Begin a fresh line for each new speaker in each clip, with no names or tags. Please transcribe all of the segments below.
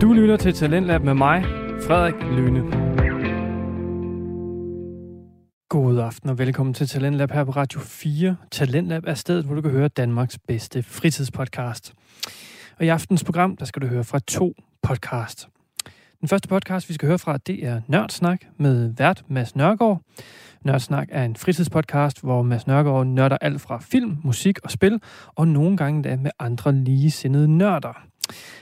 Du lytter til Talentlab med mig, Frederik Lyne. God aften og velkommen til Talentlab her på Radio 4. Talentlab er stedet, hvor du kan høre Danmarks bedste fritidspodcast. Og i aftens program, der skal du høre fra to podcast. Den første podcast, vi skal høre fra, det er Nørdsnak med vært Mads Nørgaard. Nørdsnak er en fritidspodcast, hvor Mads Nørgaard nørder alt fra film, musik og spil, og nogle gange da med andre ligesindede nørder.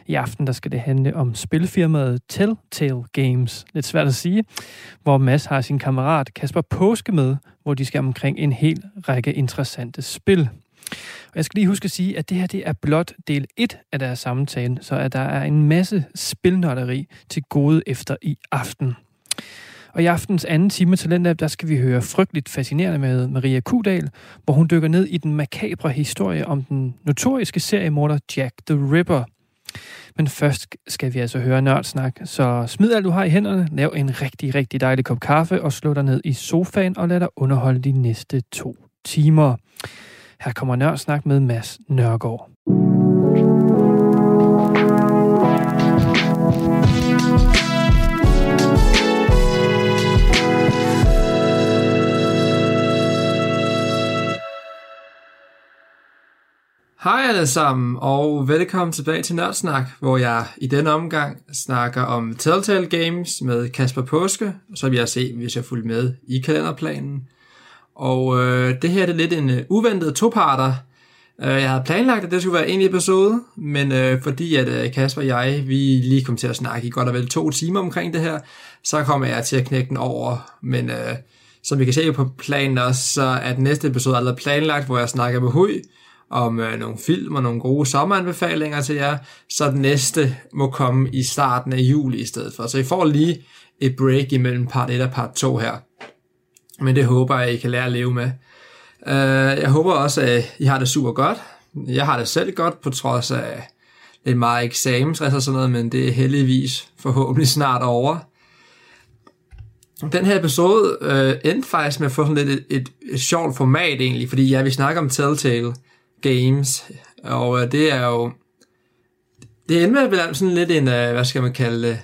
I aften der skal det handle om spilfirmaet Telltale Games, lidt svært at sige, hvor Mads har sin kammerat Kasper Påske med, hvor de skal omkring en hel række interessante spil. Og jeg skal lige huske at sige, at det her det er blot del 1 af deres samtale, så at der er en masse spilnotteri til gode efter i aften. Og i aftens anden time af Talentlab, der skal vi høre frygteligt fascinerende med Maria Kudal, hvor hun dykker ned i den makabre historie om den notoriske seriemorder Jack the Ripper. Men først skal vi altså høre nørdsnak, så smid alt du har i hænderne, lav en rigtig, rigtig dejlig kop kaffe og slå dig ned i sofaen og lad dig underholde de næste to timer. Her kommer Nørdsnak med Mads Nørgaard.
Hej alle sammen, og velkommen tilbage til Nørdsnak, hvor jeg i denne omgang snakker om Telltale Games med Kasper Påske, som jeg har set, hvis jeg fulgte med i kalenderplanen. Og øh, det her det er lidt en øh, uventet toparter. Øh, jeg havde planlagt, at det skulle være en episode, men øh, fordi at øh, Kasper og jeg, vi lige kom til at snakke i godt og vel to timer omkring det her, så kommer jeg til at knække den over, men... Øh, som vi kan se på planen også, så er den næste episode allerede planlagt, hvor jeg snakker med Hui, om øh, nogle film og nogle gode sommeranbefalinger til jer, så den næste må komme i starten af juli i stedet for. Så I får lige et break imellem part 1 og part 2 her. Men det håber jeg, I kan lære at leve med. Øh, jeg håber også, at I har det super godt. Jeg har det selv godt, på trods af lidt meget eksamensstress og sådan noget, men det er heldigvis forhåbentlig snart over. Den her episode øh, endte faktisk med at få sådan lidt et, et, et sjovt format egentlig, fordi ja, vi snakker om Telltale, games, og øh, det er jo, det ender med at være sådan lidt en, øh, hvad skal man kalde det,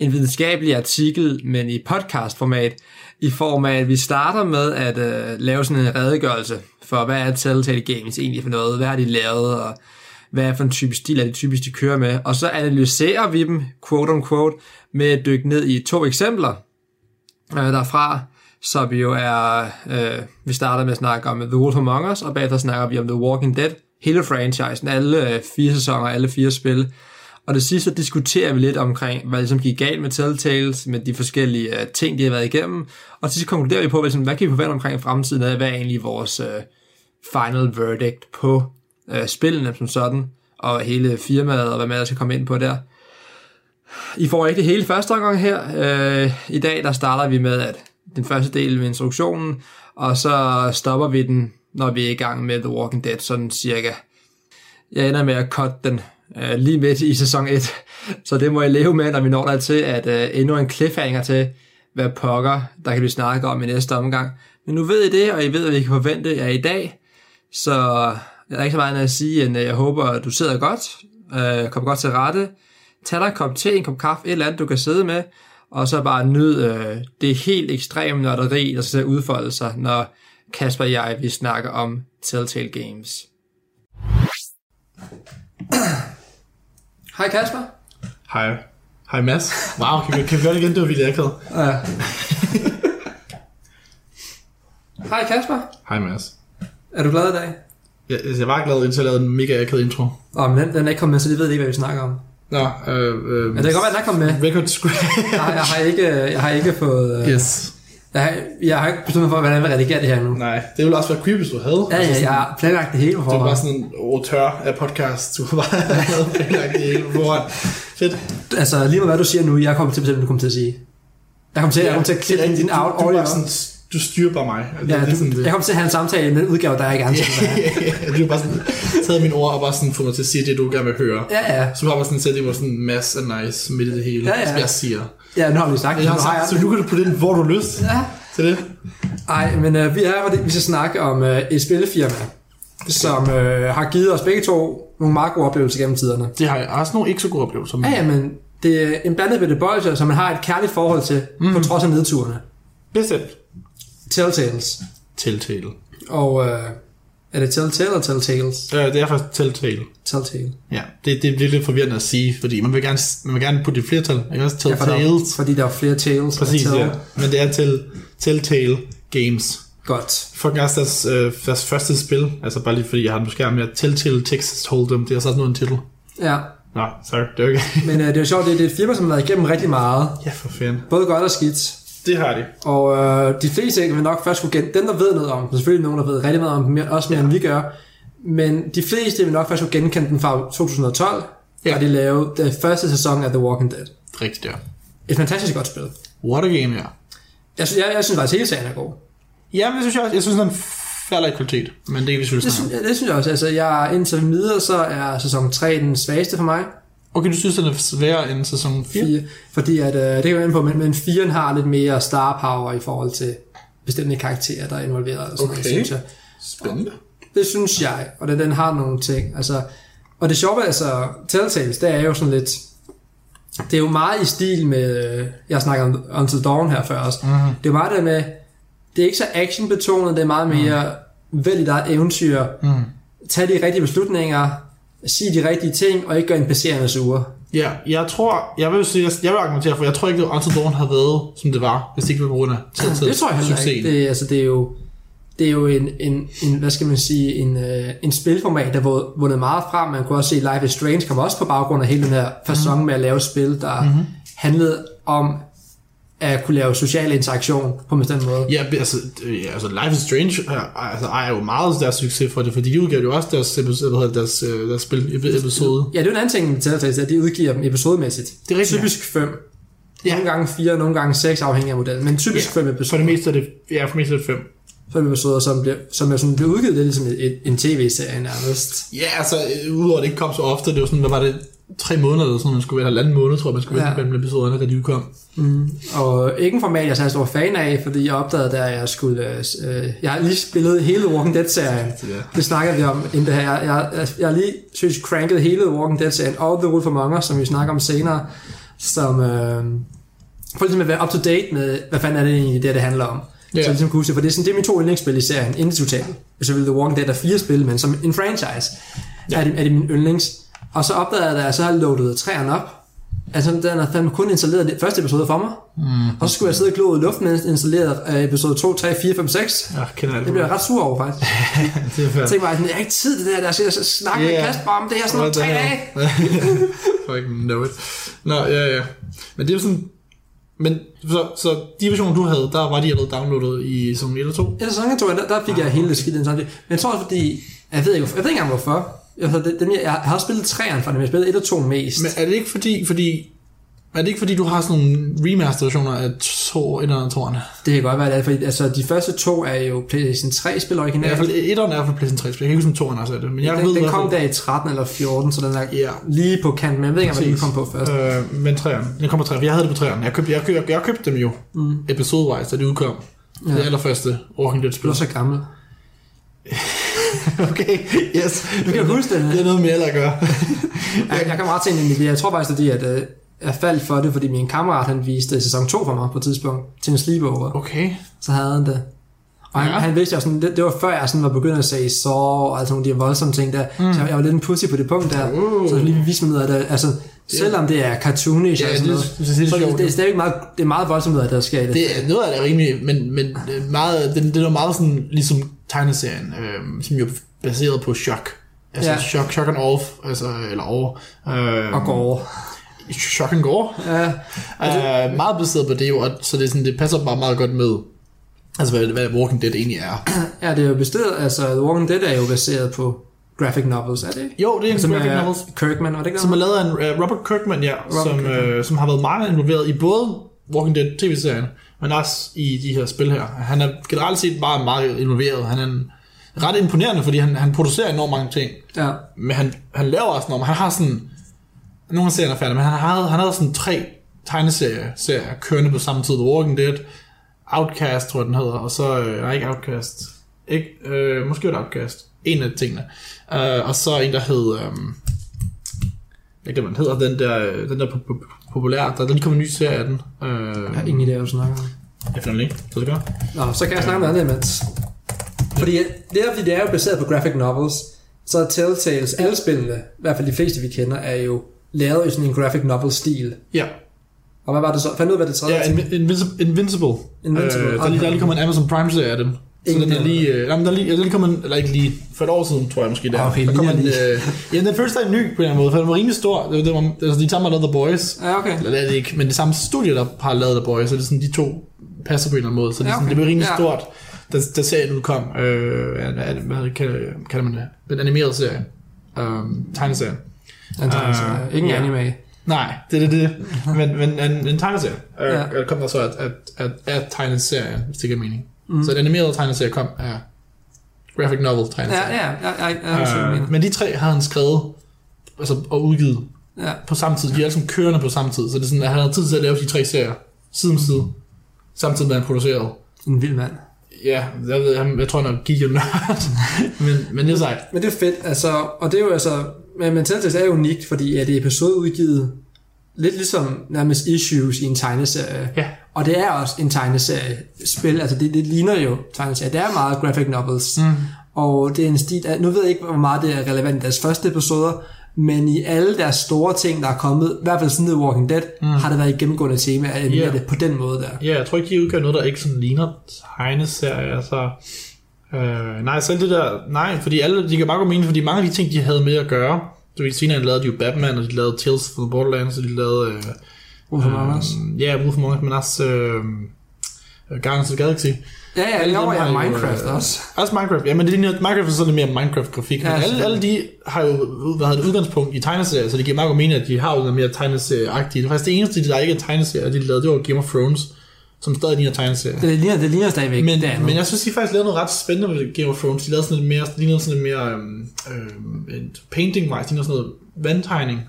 en videnskabelig artikel, men i podcastformat, i form af, at vi starter med at øh, lave sådan en redegørelse for, hvad er Telltale Games egentlig for noget, hvad har de lavet, og hvad er for en type stil, er det typisk, de kører med, og så analyserer vi dem, quote on quote, med at dykke ned i to eksempler øh, derfra, så vi jo er, øh, vi starter med at snakke om The Wolf Among Us, og bagefter snakker vi om The Walking Dead, hele franchisen, alle øh, fire sæsoner, alle fire spil. Og det sidste så diskuterer vi lidt omkring, hvad som gik galt med Telltales, med de forskellige øh, ting, de har været igennem. Og til sidst konkluderer vi på, hvad, ligesom, hvad kan vi forvente omkring fremtiden, og hvad er egentlig vores øh, final verdict på øh, spillene som sådan, og hele firmaet, og hvad man ellers skal komme ind på der. I får ikke det hele første omgang her. Øh, I dag der starter vi med at den første del med instruktionen, og så stopper vi den, når vi er i gang med The Walking Dead, sådan cirka. Jeg ender med at cutte den øh, lige midt i sæson 1, så det må jeg leve med, når vi når der til, at øh, endnu en cliffhanger til, hvad pokker, der kan blive snakket om i næste omgang. Men nu ved I det, og I ved, hvad I kan forvente jer i dag, så jeg er ikke så meget andet at sige, end øh, jeg håber, at du sidder godt, øh, kommer godt til rette, tag dig en kop te, en kop kaffe, et eller andet, du kan sidde med, og så bare nyd øh, det helt ekstreme nørderi, der skal til at udfolde sig, når Kasper og jeg vi snakker om Telltale Games. Hej Kasper.
Hej. Hej Mads. Wow, kan vi, kan vi gøre det igen? Det var vildt akavet.
Hej Kasper.
Hej Mads.
Er du glad i dag?
Jeg, altså, jeg var glad, indtil jeg lavede en mega akavet intro.
Åh, men den, den er ikke kommet med, så de ved ikke, hvad vi snakker om.
Nå, øh, øh,
Men det kan godt være, den er kommet med.
Record scratch.
Jeg har, jeg har, ikke, jeg har ikke fået... Øh,
yes.
jeg, har, jeg har ikke bestemt mig for, hvordan jeg vil redigere det her nu.
Nej, det ville også være creepy, hvis du havde. Altså,
Ja, ja,
sådan,
jeg har planlagt det hele på
Det var
forhånd.
bare sådan en auteur af podcast, du bare havde planlagt det hele på forhånd. Fedt.
Altså, lige med hvad du siger nu, jeg kommer til at bestemme, hvad du kommer til at sige. Jeg kommer til, jeg kommer til at
det er
klippe
rigtigt.
din out
du, du,
all
er
over.
bare sådan, du styrer bare mig.
Ja,
det, er
du,
sådan, det.
jeg kommer til at have en samtale med en udgave, der er ikke ansat.
du har bare sådan taget mine ord og bare sådan fået mig til at sige det, du gerne vil høre.
Ja, ja.
Så var man sådan en sætning, hvor sådan mass er nice midt i det hele,
Ja, ja.
som jeg siger.
Ja, nu har vi sagt det.
Jeg
Nu
har sagt, så
jeg-
nu kan du putte den, hvor du har lyst
Ja.
til det.
Ej, men øh, vi er her, fordi vi skal snakke om øh, et spillefirma, som øh, har givet os begge to nogle meget gode oplevelser gennem tiderne.
Det har jeg også nogle ikke så gode oplevelser med.
Ja, ja, men det er en blandet bedebøjelse, som man har et kærligt forhold til, mm. på trods af nedturene.
Bestemt.
Telltales.
Telltale.
Og øh, er det Telltale eller Telltales?
Øh, det er faktisk Telltale.
Telltale.
Ja, det, det, det er lidt forvirrende at sige, fordi man vil gerne, man vil gerne putte et flertal. Ikke også
Ja, for der,
Telltales?
er- fordi der er flere tales. end
Præcis,
tale.
ja. Men det er til Telltale Games.
Godt.
Fucking også deres, øh, deres første spil, altså bare lige fordi jeg har den på skærmen, jeg Telltale Texas Hold'em, det er sådan noget en titel.
Ja,
Nå, sorry, det er okay.
men øh, det er jo sjovt, det, det er et firma, som har været igennem rigtig meget.
ja, for fanden.
Både godt og skidt.
Det har de.
Og øh, de fleste vil nok først kunne gen... Dem, der ved noget om dem, selvfølgelig nogen, der ved rigtig meget om dem, mere- også mere ja. end vi gør, men de fleste vil nok først kunne genkende den fra 2012, ja.
Ja.
da de lavede den første sæson af The Walking Dead.
Rigtigt, ja.
Et fantastisk godt spil.
What a game, ja.
Jeg, sy- jeg, jeg synes faktisk, hele serien er god.
Ja, men det synes jeg også. Jeg synes, den falder i kvalitet, men det kan vi
Det,
selvfølgelig
synes,
snakke om.
jeg, det synes jeg også. Altså, jeg, indtil videre, så er sæson 3 den svageste for mig.
Okay, du synes, den er sværere end sæson 4?
4, fordi at, øh, det kan jeg ind på, men, men 4'eren har lidt mere star power i forhold til bestemte karakterer, der er involveret. Og sådan okay. noget,
Okay.
synes jeg.
Spændende.
Det synes jeg, og den, den har nogle ting. Altså, og det sjove, altså, Telltales, det er jo sådan lidt... Det er jo meget i stil med... øh, Jeg snakker om Until Dawn her før også. Mm.
Mhm.
Det er jo meget det med... Det er ikke så actionbetonet, det er meget mere... Mm. Vælg dit eget eventyr.
Mm.
Tag de rigtige beslutninger. Sig de rigtige ting, og ikke gør en passerende sure.
Ja, jeg tror, jeg vil, sige, jeg, jeg vil argumentere for, jeg tror ikke, at Until Dawn havde været, som det var, hvis det ikke var på grund af Telltale
Det tror jeg heller ikke. Det, er- altså, det er jo, det er jo en, en, en, hvad skal man sige, en, øh, en spilformat, der har vundet meget frem. Man kunne også se Life is Strange kom også på baggrund af hele den her fasong
Mhm.
med at lave spil, der mm-hmm. handlede om at kunne lave social interaktion på en bestemt måde.
Ja, be- altså, det- ja, altså Life is Strange er- altså, ejer jo meget deres succes for det, fordi de udgav jo også deres, episode, hvad hedder det, deres, øh, deres spil epi- episode.
Ja, det er jo en anden ting med Telltale, at de udgiver dem episodemæssigt.
Det er rigtigt,
Typisk 5. Ja.
Ja.
Nogle gange 4, nogle gange 6 afhængig af modellen, men typisk 5 ja.
For
episoder,
det meste er det, ja, for det meste er det fem.
fem episoder, som bliver, som er sådan, bliver udgivet lidt ligesom et, en tv-serie nærmest.
Ja, altså, øh, udover at det ikke kom så ofte, det var sådan, hvad var det, tre måneder eller sådan, noget, man skulle være halvanden måned, tror jeg, man skulle
Ja.
vente mellem episoderne, da de udkom.
Og ikke en format, jeg er særlig stor fan af, fordi jeg opdagede, da jeg skulle... øh, s- Øh, jeg har lige spillet hele Walking Dead-serien.
Ja.
Det snakker vi om inden det her. Jeg, jeg, jeg, jeg har lige, synes, cranket hele Walking Dead-serien og The Wolf Among Us, som vi snakker om senere, som... Øh, for ligesom at være up-to-date med, hvad fanden er det egentlig, det, det handler om. Yeah.
Ja.
Så jeg ligesom kunne huske det, for det er, sådan, det er mine to yndlingsspil i serien, inden total. Og så ville The Walking Dead er fire spil, men som en franchise yeah. er, det, er det min yndlings. Og så opdagede jeg, da jeg så har loadet træerne op, Altså, den har fandme kun installeret den første episode for mig. Mm. Og så skulle jeg sidde og glo i luften, mens den installerede øh, episode 2, 3, 4, 5, 6.
Jeg kender alt.
Det blev jeg ret sur over, faktisk.
det er
Jeg
fandme.
tænkte mig, sådan, jeg har ikke tid til det her, der skal jeg så snakke yeah.
Ja.
med Kasper om det her sådan nogle
What the
tre dage.
hell? Fucking know it. Nå, ja, ja. Men det er jo sådan... Men så, så de versioner, du havde, der var de allerede downloadet i som 1 eller 2?
Eller sådan tror jeg, der, der fik jeg hele det skidt ind samtidig. Men jeg tror også, fordi, jeg ved ikke, hvorfor- jeg ved ikke engang hvorfor. Jeg, den, den, jeg, jeg har spillet træerne for dem, jeg spillede 1 og 2 mest.
Men er det ikke fordi, fordi er det ikke fordi, du har sådan nogle remaster versioner af to et eller tårne?
Det kan godt være, det er, fordi altså, de første to er jo PlayStation 3-spil
I hvert
originalt.
fald etteren er på PlayStation 3, så jeg kan ikke huske, om 2'eren også er det. Men jeg
Den,
ved,
den
i
kom
hvert
der i 13 eller 14, så den er
Ja.
lige på kanten, men jeg ved ikke, hvad den
Præcis.
kom på først.
fald, øh, men 3'eren. Den kommer 3'eren, for jeg havde det på 3'eren. Jeg købte, jeg, købte, jeg købte dem jo mm. episode-wise, da det udkom. Ja. Det allerførste Walking Dead
Du
spil.
er så gammel.
okay, yes.
Du kan huske det.
Det er noget med alder at gøre.
Jeg, jeg kan meget til en Jeg tror faktisk, fordi at, øh, jeg faldt for det, fordi min kammerat han viste sæson 2 for mig på et tidspunkt til en sleepover.
Okay.
Så havde han det. Og han, ja.
Ja.
han vidste jo sådan, det, det, var før jeg sådan var begyndt at sige så og altså nogle af de her voldsomme ting der. Mm. Så jeg, jeg, var lidt en pussy på det punkt der.
Uh.
Så lige viste mig noget af det. Altså, selvom det er cartoonish
Ja,
og
det,
sådan noget,
det, det, det,
så
det,
det, det, er stadigvæk meget, det er meget voldsomt noget, af det, der sker i det.
Det er noget af det er rimelig, men, men øh, meget, det, det er jo meget sådan, ligesom tegneserien, øh, som jo er baseret på chok. Altså
Ja.
ja. shock, shock and off, altså, eller over. Øh,
og går over.
Shock and gore.
Ja.
Øh, meget baseret på det jo, og, så det, er sådan, det passer bare meget godt med, altså hvad, hvad Walking Dead egentlig er.
ja, det er jo baseret, altså The Walking Dead er jo baseret på graphic novels, er det ikke?
Jo, det er en
Som
graphic
er
novels,
Kirkman, var det ikke
som er lavet af en, øh, Robert Kirkman, ja, Robert som, Øh, som har været meget involveret i både Walking Dead tv-serien, men også i de her spil her. Han er generelt set bare meget involveret. Han er en, ret imponerende, fordi han, han producerer enormt mange ting.
Ja.
Men han, han laver også noget. Han har sådan... Nogle af serierne er færdige, men han havde, han havde sådan tre tegneserier serier, kørende på samme tid. The Walking Dead, Outcast, tror jeg den hedder, og så... Øh, nej, ikke Outcast. Ikke, øh, øhm, måske var det Outcast. En af tingene. Øh, og så en, der hed... Øh, ikke det, man hedder, den der, øh, den der po- po- po- populære, der, der lige kommer en ny serie af den. Øh,
Jeg har ingen idé, hvad du snakker om.
jeg finder den ikke, så det gør.
Nå, så kan jeg snakke om noget andet imens. Fordi det er, fordi det er jo baseret på graphic novels, så er Telltales, alle spillene, i hvert fald de fleste vi kender, er jo lavet i sådan en graphic novel-stil.
Ja,
Og hvad var det så? Fandt ud af, hvad det tredje?
ja Invi- Invinci- Invincible.
Invincible.
Øh, der, er lige, der er lige kommet en Amazon Prime-serie af dem. Så
Ingen
den er
idé.
lige, øh, jamen, der er lige, ja, der er lige kommet en, eller ikke lige, for et år siden, tror jeg måske det er.
Ah, Okay,
der
lige
kommer en,
lige.
øh, jamen, den første er ny på en eller anden måde, for den var rimelig stor. Det, var- det var, altså, de samme har lavet The Boys.
ja okay.
Eller det er det ikke, men det samme studie, der har lavet The Boys, så det er sådan, de to passer på en eller anden måde, så det, er
Ja,
sådan,
okay.
det blev rimelig
Ja.
stort, da, da serien udkom. Øh, hvad, hvad, hvad kalder, kalder man det? Den animerede serie. Øh, tegneserien.
Antagelsen.
Øh,
Ah, ingen
ja.
anime.
Nej, det er det, det. Men, men en, en tegneserie. Øh,
Mhm. Ja.
ja. kom der så at, at, at, at tegneserien, hvis det giver mening.
Mhm.
Mm. Så den animerede tegneserie kom af graphic novel
Ja,
tegneserie. Øh,
ja, ja, ja, ja, jeg forstår, hvad du mener.
men de tre har han skrevet altså, og udgivet
ja,
på samme tid. De er alle sammen kørende på samme tid, så det er sådan, at han havde tid til at lave de tre serier side om side,
Mhm.
samtidig med at han producerede.
en vild mand.
Ja, jeg, ved, jeg, jeg tror nok, gik jo nørd, men, men det er sejt.
Men det er fedt, altså, og det er jo altså, men, men Telltales er jo unikt, fordi at det er episodeudgivet lidt ligesom nærmest issues i en tegneserie.
Ja.
Og det er også en tegneserie spil, altså det, det ligner jo tegneserie. Det er meget graphic novels, mm. og det er en stil, af- nu ved jeg ikke, hvor meget det er relevant i deres første episoder, men i alle deres store ting, der er kommet, i hvert fald siden The Walking Dead, mm. har det været et gennemgående tema, at yeah.
Ja.
det på den måde der.
Ja, jeg tror ikke, de udgør noget, der ikke sådan ligner tegneserier, så... Øh, nej, selv det der... Nej, fordi alle, de kan bare gå mening, fordi mange af de ting, de havde med at gøre... Du ved, senere lavede de jo Batman, og de lavede Tales from the Borderlands, og de lavede... Øh,
Hvorfor øh, også?
øh, Ja, Wolf Among Us, men også... Øh, Guardians of the Galaxy.
Ja, ja,
alle
jo,
dem har
ja,
jo,
Minecraft
øh,
også.
Også Minecraft. Ja, men det ligner, Minecraft er så lidt mere Minecraft-grafik.
Ja,
Ja, alle,
selvfølgelig.
alle, de har jo hvad hedder det, udgangspunkt i tegneserier, så det giver meget god mening, at de har jo noget mere tegneserieagtigt. Det er faktisk det eneste, der ikke er tegneserier, de lavede, det var Game of Thrones, som stadig ligner tegneserier.
Det ligner, det ligner stadigvæk
Men,
det andet.
men jeg synes, de faktisk lavede noget ret spændende med Game of Thrones. De lavede sådan lidt mere, de lignede sådan lidt mere øhm, øhm, et painting-wise, de lignede sådan noget vandtegning.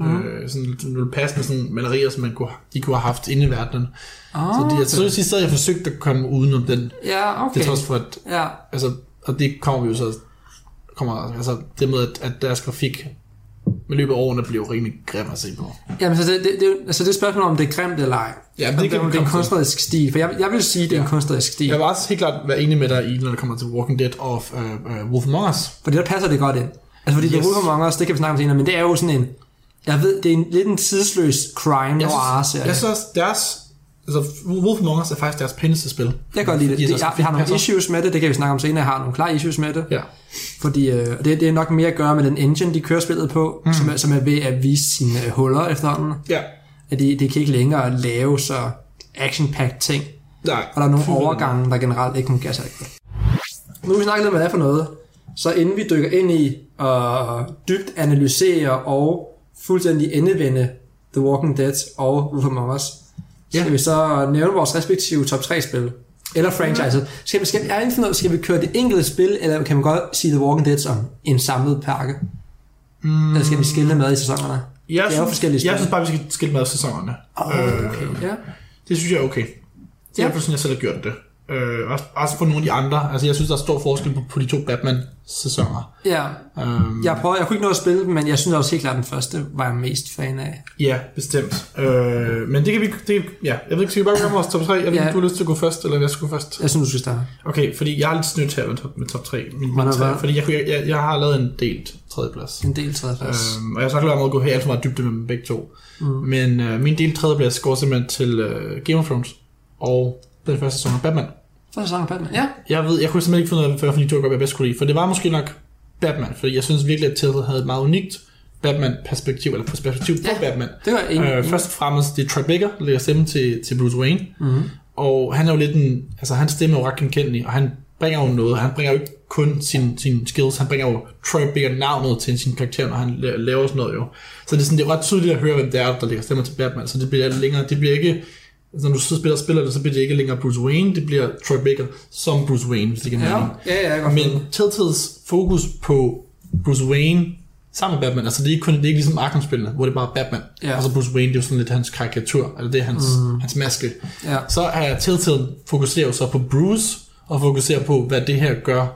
Mm. Øh, sådan lidt- sådan lidt passende sådan malerier, som man kunne, de kunne have haft inde i verdenen.
oh,
Så de, jeg synes, de stadig har forsøgt at komme udenom den. Okay.
Ja, okay.
Det er trods for, at,
Ja,
altså, og det kommer vi jo så, kommer, altså det med, at, at deres grafik med løbet af årene bliver jo rimelig grim at se på.
Jamen, så det, det, det, er jo- altså det er et spørgsmål om, det er grimt eller ej.
Ja,
Om
men det kan vi
det er en
komme til.
kunstnerisk stil, for jeg, jeg vil sige, det er en kunstnerisk stil,
Jeg vil også helt klart være enig med dig i, når det kommer til Walking Dead og uh, uh, Wolf Among Us.
fordi der passer det godt ind. Altså, fordi yes.
Yes.
The Wolf Among Us, det kan vi snakke om senere, men det er jo sådan en, jeg ved, det er en, lidt en tidsløs crime
Jeg
noir
synes,
serie.
jeg synes også, deres... Altså, Wolf Among Us er faktisk deres pændeste spil.
Jeg kan godt lide det.
Fordi
det
så
jeg, vi har nogle
altså, passer.
issues med det, det kan vi snakke om senere. Jeg har nogle klare issues med det.
Ja.
Fordi øh, det, det er nok mere at gøre med den engine, de kører spillet på, mm. som, er, som er ved at vise sine øh, huller efterhånden.
Ja.
At det de kan ikke længere lave så action-packed ting.
Nej.
Og der er nogle overgange, der generelt ikke fungerer særlig godt. Nu har vi snakket lidt om, hvad det er for noget. Så inden vi dykker ind i at dybt analysere og fuldstændig endevende The Walking Dead og Wolf Among Us, så skal
Ja.
vi så nævne vores respektive top 3-spil. Eller franchises. Skal vi, skal, jeg er ikke fundet ud af, skal vi køre det enkelte spil, eller kan man godt sige The Walking Dead som en samlet pakke? Mm. Eller skal vi skille det med i sæsonerne?
Jeg,
Det er jo
synes,
forskellige spil.
jeg synes bare, vi skal skille med sæsonerne. Øh,
Åh, Øh, okay. Ja.
Det synes jeg er okay. Det er
Ja.
ja. sådan, jeg selv har gjort det. Øh, også, også for nogle af de andre. Altså, jeg synes, der er stor forskel på, på de to Batman-sæsoner.
ja.
Øhm,
Jeg, prøvede, jeg kunne ikke nå at spille dem, men jeg synes også helt klart, den første var jeg mest fan af.
ja, bestemt. Øh, men det kan vi... Det, ja, jeg ved ikke, skal vi bare gøre vores top 3? Jeg ved ikke,
Ja.
ja. du har lyst til at gå først, eller jeg skal gå først.
Jeg synes, du skal starte.
Okay, fordi jeg er lidt snydt her med top, med top 3. Min,
Hvordan
min
var det?
tre, fordi jeg, kunne- jeg, jeg, jeg, har lavet en delt tredjeplads.
En del tredjeplads.
Øhm, og jeg har så ikke lade mig at gå helt alt for meget dybde med dem begge to. Mm. Men øh, min del tredjeplads går simpelthen til øh, Game of Thrones og den første sæson af Batman.
Første sæson af Batman. Ja.
Jeg ved, jeg kunne simpelthen ikke finde ud af, hvad for de to jeg bedst kunne lide. For det var måske nok Batman, fordi jeg synes virkelig, at Telltale havde et meget unikt Batman-perspektiv, eller perspektiv på
Ja.
Batman.
Det var en...
Øh,
Øh,
først og fremmest, det er Troy Baker, der lægger stemme til, til Bruce Wayne. Mm-hmm. Og han er jo lidt en... Altså, hans stemme er jo ret genkendelig, og han bringer jo noget. Han bringer jo ikke kun sine sin skills, han bringer jo Troy Baker-navnet til sin karakter, når han la- laver sådan noget jo. Så det er, sådan, det er ret tydeligt at høre, hvem det er, der lægger stemmer til Batman, så det bliver lidt længere... Det bliver ikke... Altså, når du så spiller spiller det, så bliver det ikke længere Bruce Wayne, det bliver Troy Baker som Bruce Wayne, hvis det kan
ja.
mening.
ja, ja, jeg kan godt forstå
Men Telltales fokus på Bruce Wayne sammen med Batman, altså det er ikke kun, det er ikke ligesom Arkham-spillene, hvor det bare er Batman,
Ja.
og så Bruce Wayne, det er jo sådan lidt hans karikatur, eller det er hans, mm. hans maske.
det. Ja.
Så er Telltale fokuserer jo så på Bruce, og fokuserer på, hvad det her gør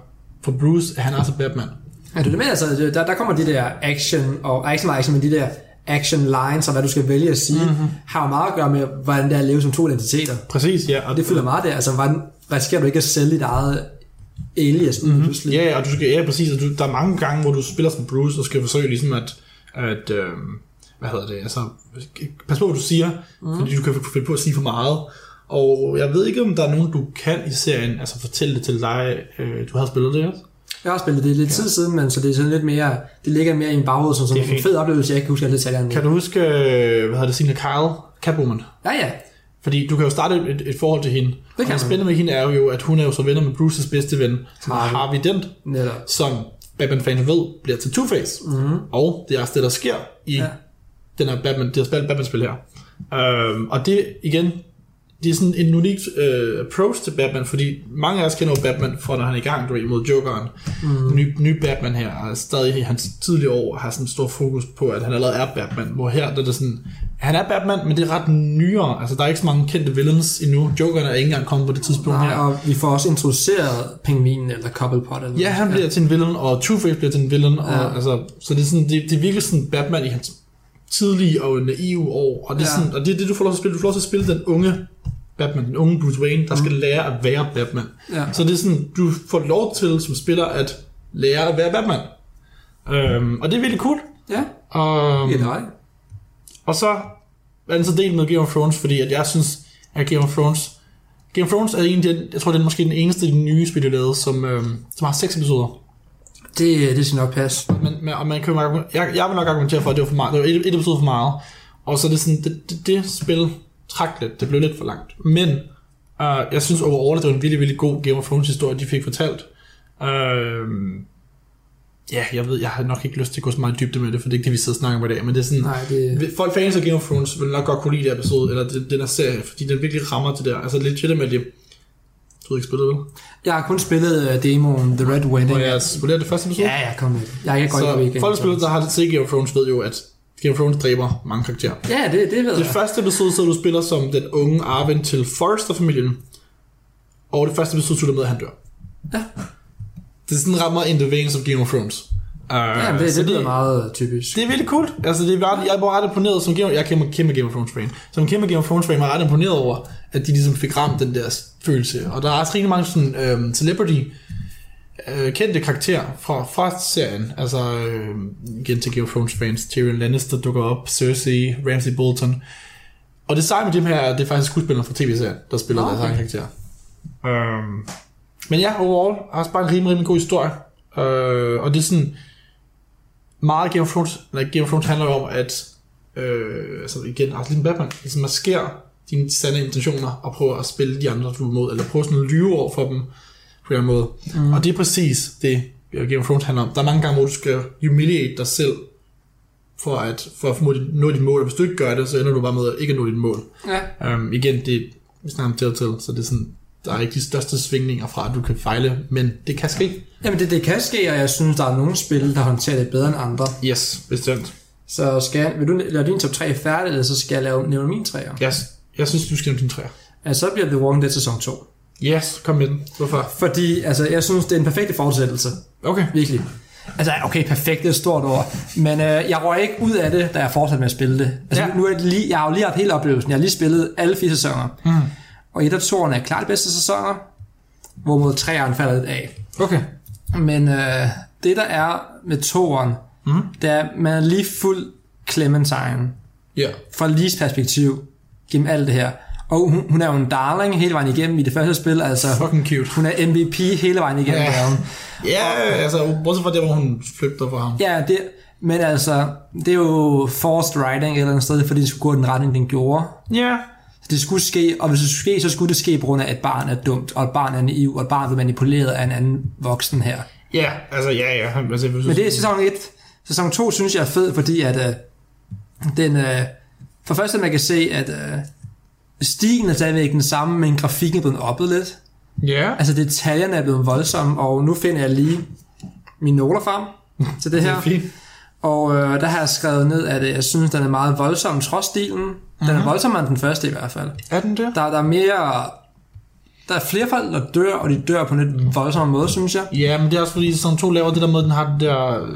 for Bruce, at han er altså Batman.
Er du det med, altså, det- der, der kommer de der action, og ej, ikke så meget action, men de der action lines og hvad du skal vælge at sige, mm-hmm. har jo meget at gøre med, hvordan det er at leve som to identiteter.
Præcis, ja.
Og det fylder meget der. Altså, hvordan risikerer du ikke at sælge dit eget alias mm-hmm. pludselig?
Ja, ja, og du skal, ja, præcis. Og du, der er mange gange, hvor du spiller som Bruce og skal forsøge ligesom at, at øh, hvad hedder det, altså, pas på, hvad du siger, mm. fordi du kan finde på at sige for meget. Og jeg ved ikke, om der er nogen, du kan i serien, altså fortælle det til dig, øh, du har spillet det også?
Jeg har spillet det lidt tid siden, men så det er sådan lidt mere, det ligger mere i en baghoved, som, som
Det
en
er fint.
fed oplevelse, jeg ikke kan huske alle detaljerne.
Kan du huske, øh, hvad hedder det, Signe Kyle, Catwoman?
Ja, ja.
Fordi du kan jo starte et, et forhold til hende. Det
kan
og
man.
det spændende med hende er jo, at hun er jo så venner med Bruces bedste ven, som er
Harvey.
Harvey Dent,
Netop.
som Batman-fans ved, bliver til Two-Face. Mm-hmm. Og det er også det, der sker i
Mhm. Ja.
ja. den her Batman, det her spil, Batman-spil her. Øhm, og det, igen, det er sådan en unik øh, approach til Batman, fordi mange af os kender jo Batman fra, når han er i gang, du ved, mod Jokeren. Mm.
Mhm.
Den nye, nye Batman her, er stadig i hans tidlige år, har sådan stor fokus på, at han allerede er Batman, hvor her, der er det sådan, han er Batman, men det er ret nyere, altså der er ikke så mange kendte villains endnu, Jokeren er ikke engang kommet på det tidspunkt
Nej,
her.
og vi får også introduceret pingvinen eller Cobblepot. Eller
Ja, han bliver ja. til en villain, og Two-Face bliver til en villain, ja. og, altså, så det er, sådan, det, det er virkelig sådan Batman i hans tidlige og naive år, og det er,
Ja.
ja. sådan, og det, er det, du får lov til at spille. Du får lov til at spille den unge Batman, den unge Bruce Wayne, der skal lære at være Batman.
Ja.
Så det er sådan, du får lov til som spiller at lære at være Batman. Øhm, og det er virkelig cool.
Ja,
Um,
det er dig.
og så er den så delt med Game of Thrones, fordi at jeg synes, at Game of Thrones... Game of Thrones er egentlig, den, jeg tror, det er måske den eneste af de nye spil, de lavede, som, øhm, som har seks episoder.
Det, det skal nok passe.
Men, men og man kan jo argumen- jeg, jeg vil nok argumentere for, at det var for meget. Det var et, et episode for meget. Og så er det sådan, det, det, det spil trak lidt. Det blev lidt for langt. Men øh, jeg synes overall, at det var en virkelig, virkelig god Game of Thrones historie, de fik fortalt. Øh, ja, jeg ved, jeg har nok ikke lyst til at gå så meget i dybde med det, for det er ikke det, vi sidder og snakker om i dag. Men det er sådan,
Nej, det-
vi- folk fans af Game of Thrones vil nok godt kunne lide det episode, eller den, den her serie, fordi den virkelig rammer det der. Altså legitimately, du har ikke spillet, vel?
Jeg har kun spillet øh, demoen The Red Wedding.
Hvor jeg spiller det første episode?
Ja, ja, kom med det. Jeg kan godt lide
Så
weekenden.
folk, der spiller, der har set Game of Thrones, ved jo, at Game of Thrones dræber mange karakterer.
Ja, det, det ved
Det
jeg.
første episode sidder du og spiller som den unge Arvin til Forrester-familien, og det første episode slutter med, at han dør.
Ja.
Det er sådan rammer in the veins of Game of Thrones. Uh,
Ja, det, det, det lyder meget øh, typisk.
det er virkelig cool. Altså, det er bare, jeg var ret imponeret som Game, jeg er kæmpe, kæmpe Game of Thrones fan. Som kæmpe Game of Thrones fan var jeg ret imponeret over, at de ligesom fik ramt den der s- følelse. Og der er også rigtig mange sådan, øhm, celebrity øh, kendte karakterer fra, fra serien. Altså, øh, igen til Game of Thrones fans. Tyrion Lannister dukker op, Cersei, Ramsay Bolton. Og det seje med dem her, er, at det er faktisk skuespillere fra tv-serien, der spiller okay. deres egen karakterer. Um, men ja, overall, har også bare en rimelig, rimelig god historie. Uh, og det er sådan, meget af Game of Thrones, eller Game of Thrones handler jo om, at øh, altså igen, altså ligesom Batman, ligesom maskerer dine sande intentioner og prøver at spille de andre, du er imod, eller prøver sådan at lyve over for dem på en eller anden måde. Mm. Og det er præcis det, øh, Game of Thrones handler om. Der er mange gange, hvor du skal humiliate dig selv for at, for at formå dit- nå dit mål, og hvis du ikke gør det, så ender du bare med at ikke nå dit mål.
Ja.
Um, igen, det vi snakker om Telltale, så det er sådan, der er ikke de største svingninger fra, at du kan fejle, men det kan ske.
Jamen, det, det kan ske, og jeg synes, der er nogle spil, der håndterer det bedre end andre.
Yes, bestemt.
Så skal, vil du lave din top 3 færdig, eller så skal jeg lave, nævne min 3'er?
Jeg, jeg synes, du skal nævne dine træer.
Ja. Så bliver The Walking Dead sæson 2.
Yes, kom med den. Hvorfor?
Fordi, altså, jeg synes, det er en perfekt fortsættelse.
Okay.
Virkelig. Altså, okay, perfekt, det er et stort ord. Men øh, jeg røg ikke ud af det, da jeg fortsatte med at spille det. Altså, ja.
Ja.
nu er det lige, jeg har jo lige haft hele oplevelsen. Jeg har lige spillet alle fire sæsoner. Mm. Og et af toerne er klart de bedste sæsoner, hvorimod træerne falder lidt af.
Okay.
Men øh, det, der er med toeren, mm. det er, at man er lige fuld Clementine
Ja.
fra Lees perspektiv gennem alt det her. Og hun, hun er jo en darling hele vejen igennem i det første spil, altså
Fucking cute.
hun er MVP hele vejen igennem.
Ja.
Ja,
Ja, altså, bortset fra det, hvor hun flygter fra ham.
ja det, men altså, det er jo forced writing et eller andet sted, fordi det skulle gå i den retning, den gjorde.
Ja.
Det skulle ske, og hvis det skulle ske, så skulle det ske på grund af, at et barn er dumt, og et barn er naiv, og et barn bliver manipuleret af en anden voksen her.
Ja, altså, ja, ja. Han, altså, hvis
Men det er sæson 1. Sæson 2 synes jeg er fed, fordi at øh, den... Øh, for det første, man kan se, at øh, stilen er stadigvæk den samme, men grafikken er blevet oppet lidt.
Ja.
Altså detaljerne er blevet voldsomme, og nu finder jeg lige mine noter frem til det
Det
her.
er fint.
Og øh, der har jeg skrevet ned, at øh, jeg synes, den er meget voldsom, trods stilen. Den er voldsommere end den første i hvert fald.
Er den der?
Der, der er mere... Der er flere folk, der dør, og de dør på en lidt voldsommere måde, synes jeg.
Ja, men det er også fordi, sæson 2 laver det der med, den har det der øh,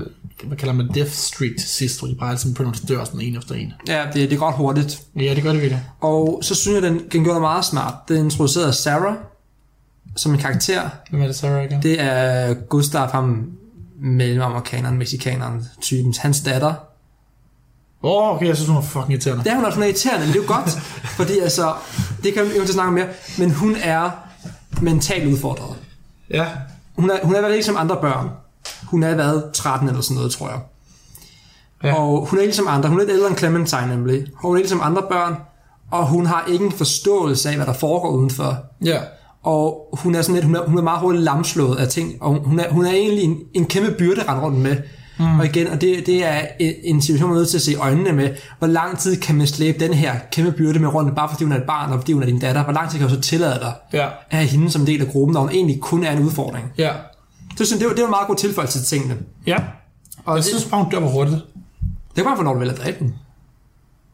hvad kalder man Death Street til sidst, hvor de bare altid begynder at dør sådan en efter en.
Ja, det, det er godt hurtigt.
Ja, det gør det virkelig.
Og så synes jeg, den, den gjorde det meget smart. Den introducerede Sarah som en karakter.
Hvem er det, Sarah igen?
Det er Gustav, ham mellemamerikaneren, mexikaneren, typen, hans datter.
Åh, oh, okay, jeg synes, hun er fucking irriterende.
Det er hun også, hun er irriterende, men det er jo godt, fordi altså, det kan vi jo ikke snakke om mere, men hun er mentalt udfordret.
Ja,
Hun er, hun er været ikke som andre børn. Hun er været 13 eller sådan noget, tror jeg. Ja.
Ja.
Og hun er ikke som andre. Hun er lidt ældre end Clementine nemlig. Og hun er ikke som andre børn, og hun har ikke en forståelse af, hvad der foregår udenfor.
ja.
Og hun er sådan lidt, hun er, hun er meget hurtigt lamslået af ting, og hun er, hun er egentlig en, en kæmpe byrde at rende rundt med. Mm. Og igen, og det, det er en, en situation, man er nødt til at se i øjnene med, hvor lang tid kan man slæbe den her kæmpe byrde med rundt, bare fordi hun er et barn, og fordi hun er din datter, hvor lang tid kan du så tillade dig
Ja.
at have hende som en del af gruppen, når hun egentlig kun er en udfordring.
Ja.
Det, synes, jeg, det, var, det var en meget god tilføjelse til tingene.
Ja. Og
det-
jeg synes bare, hun dør for hurtigt.
Det kan man få, når du vælger at dræbe den.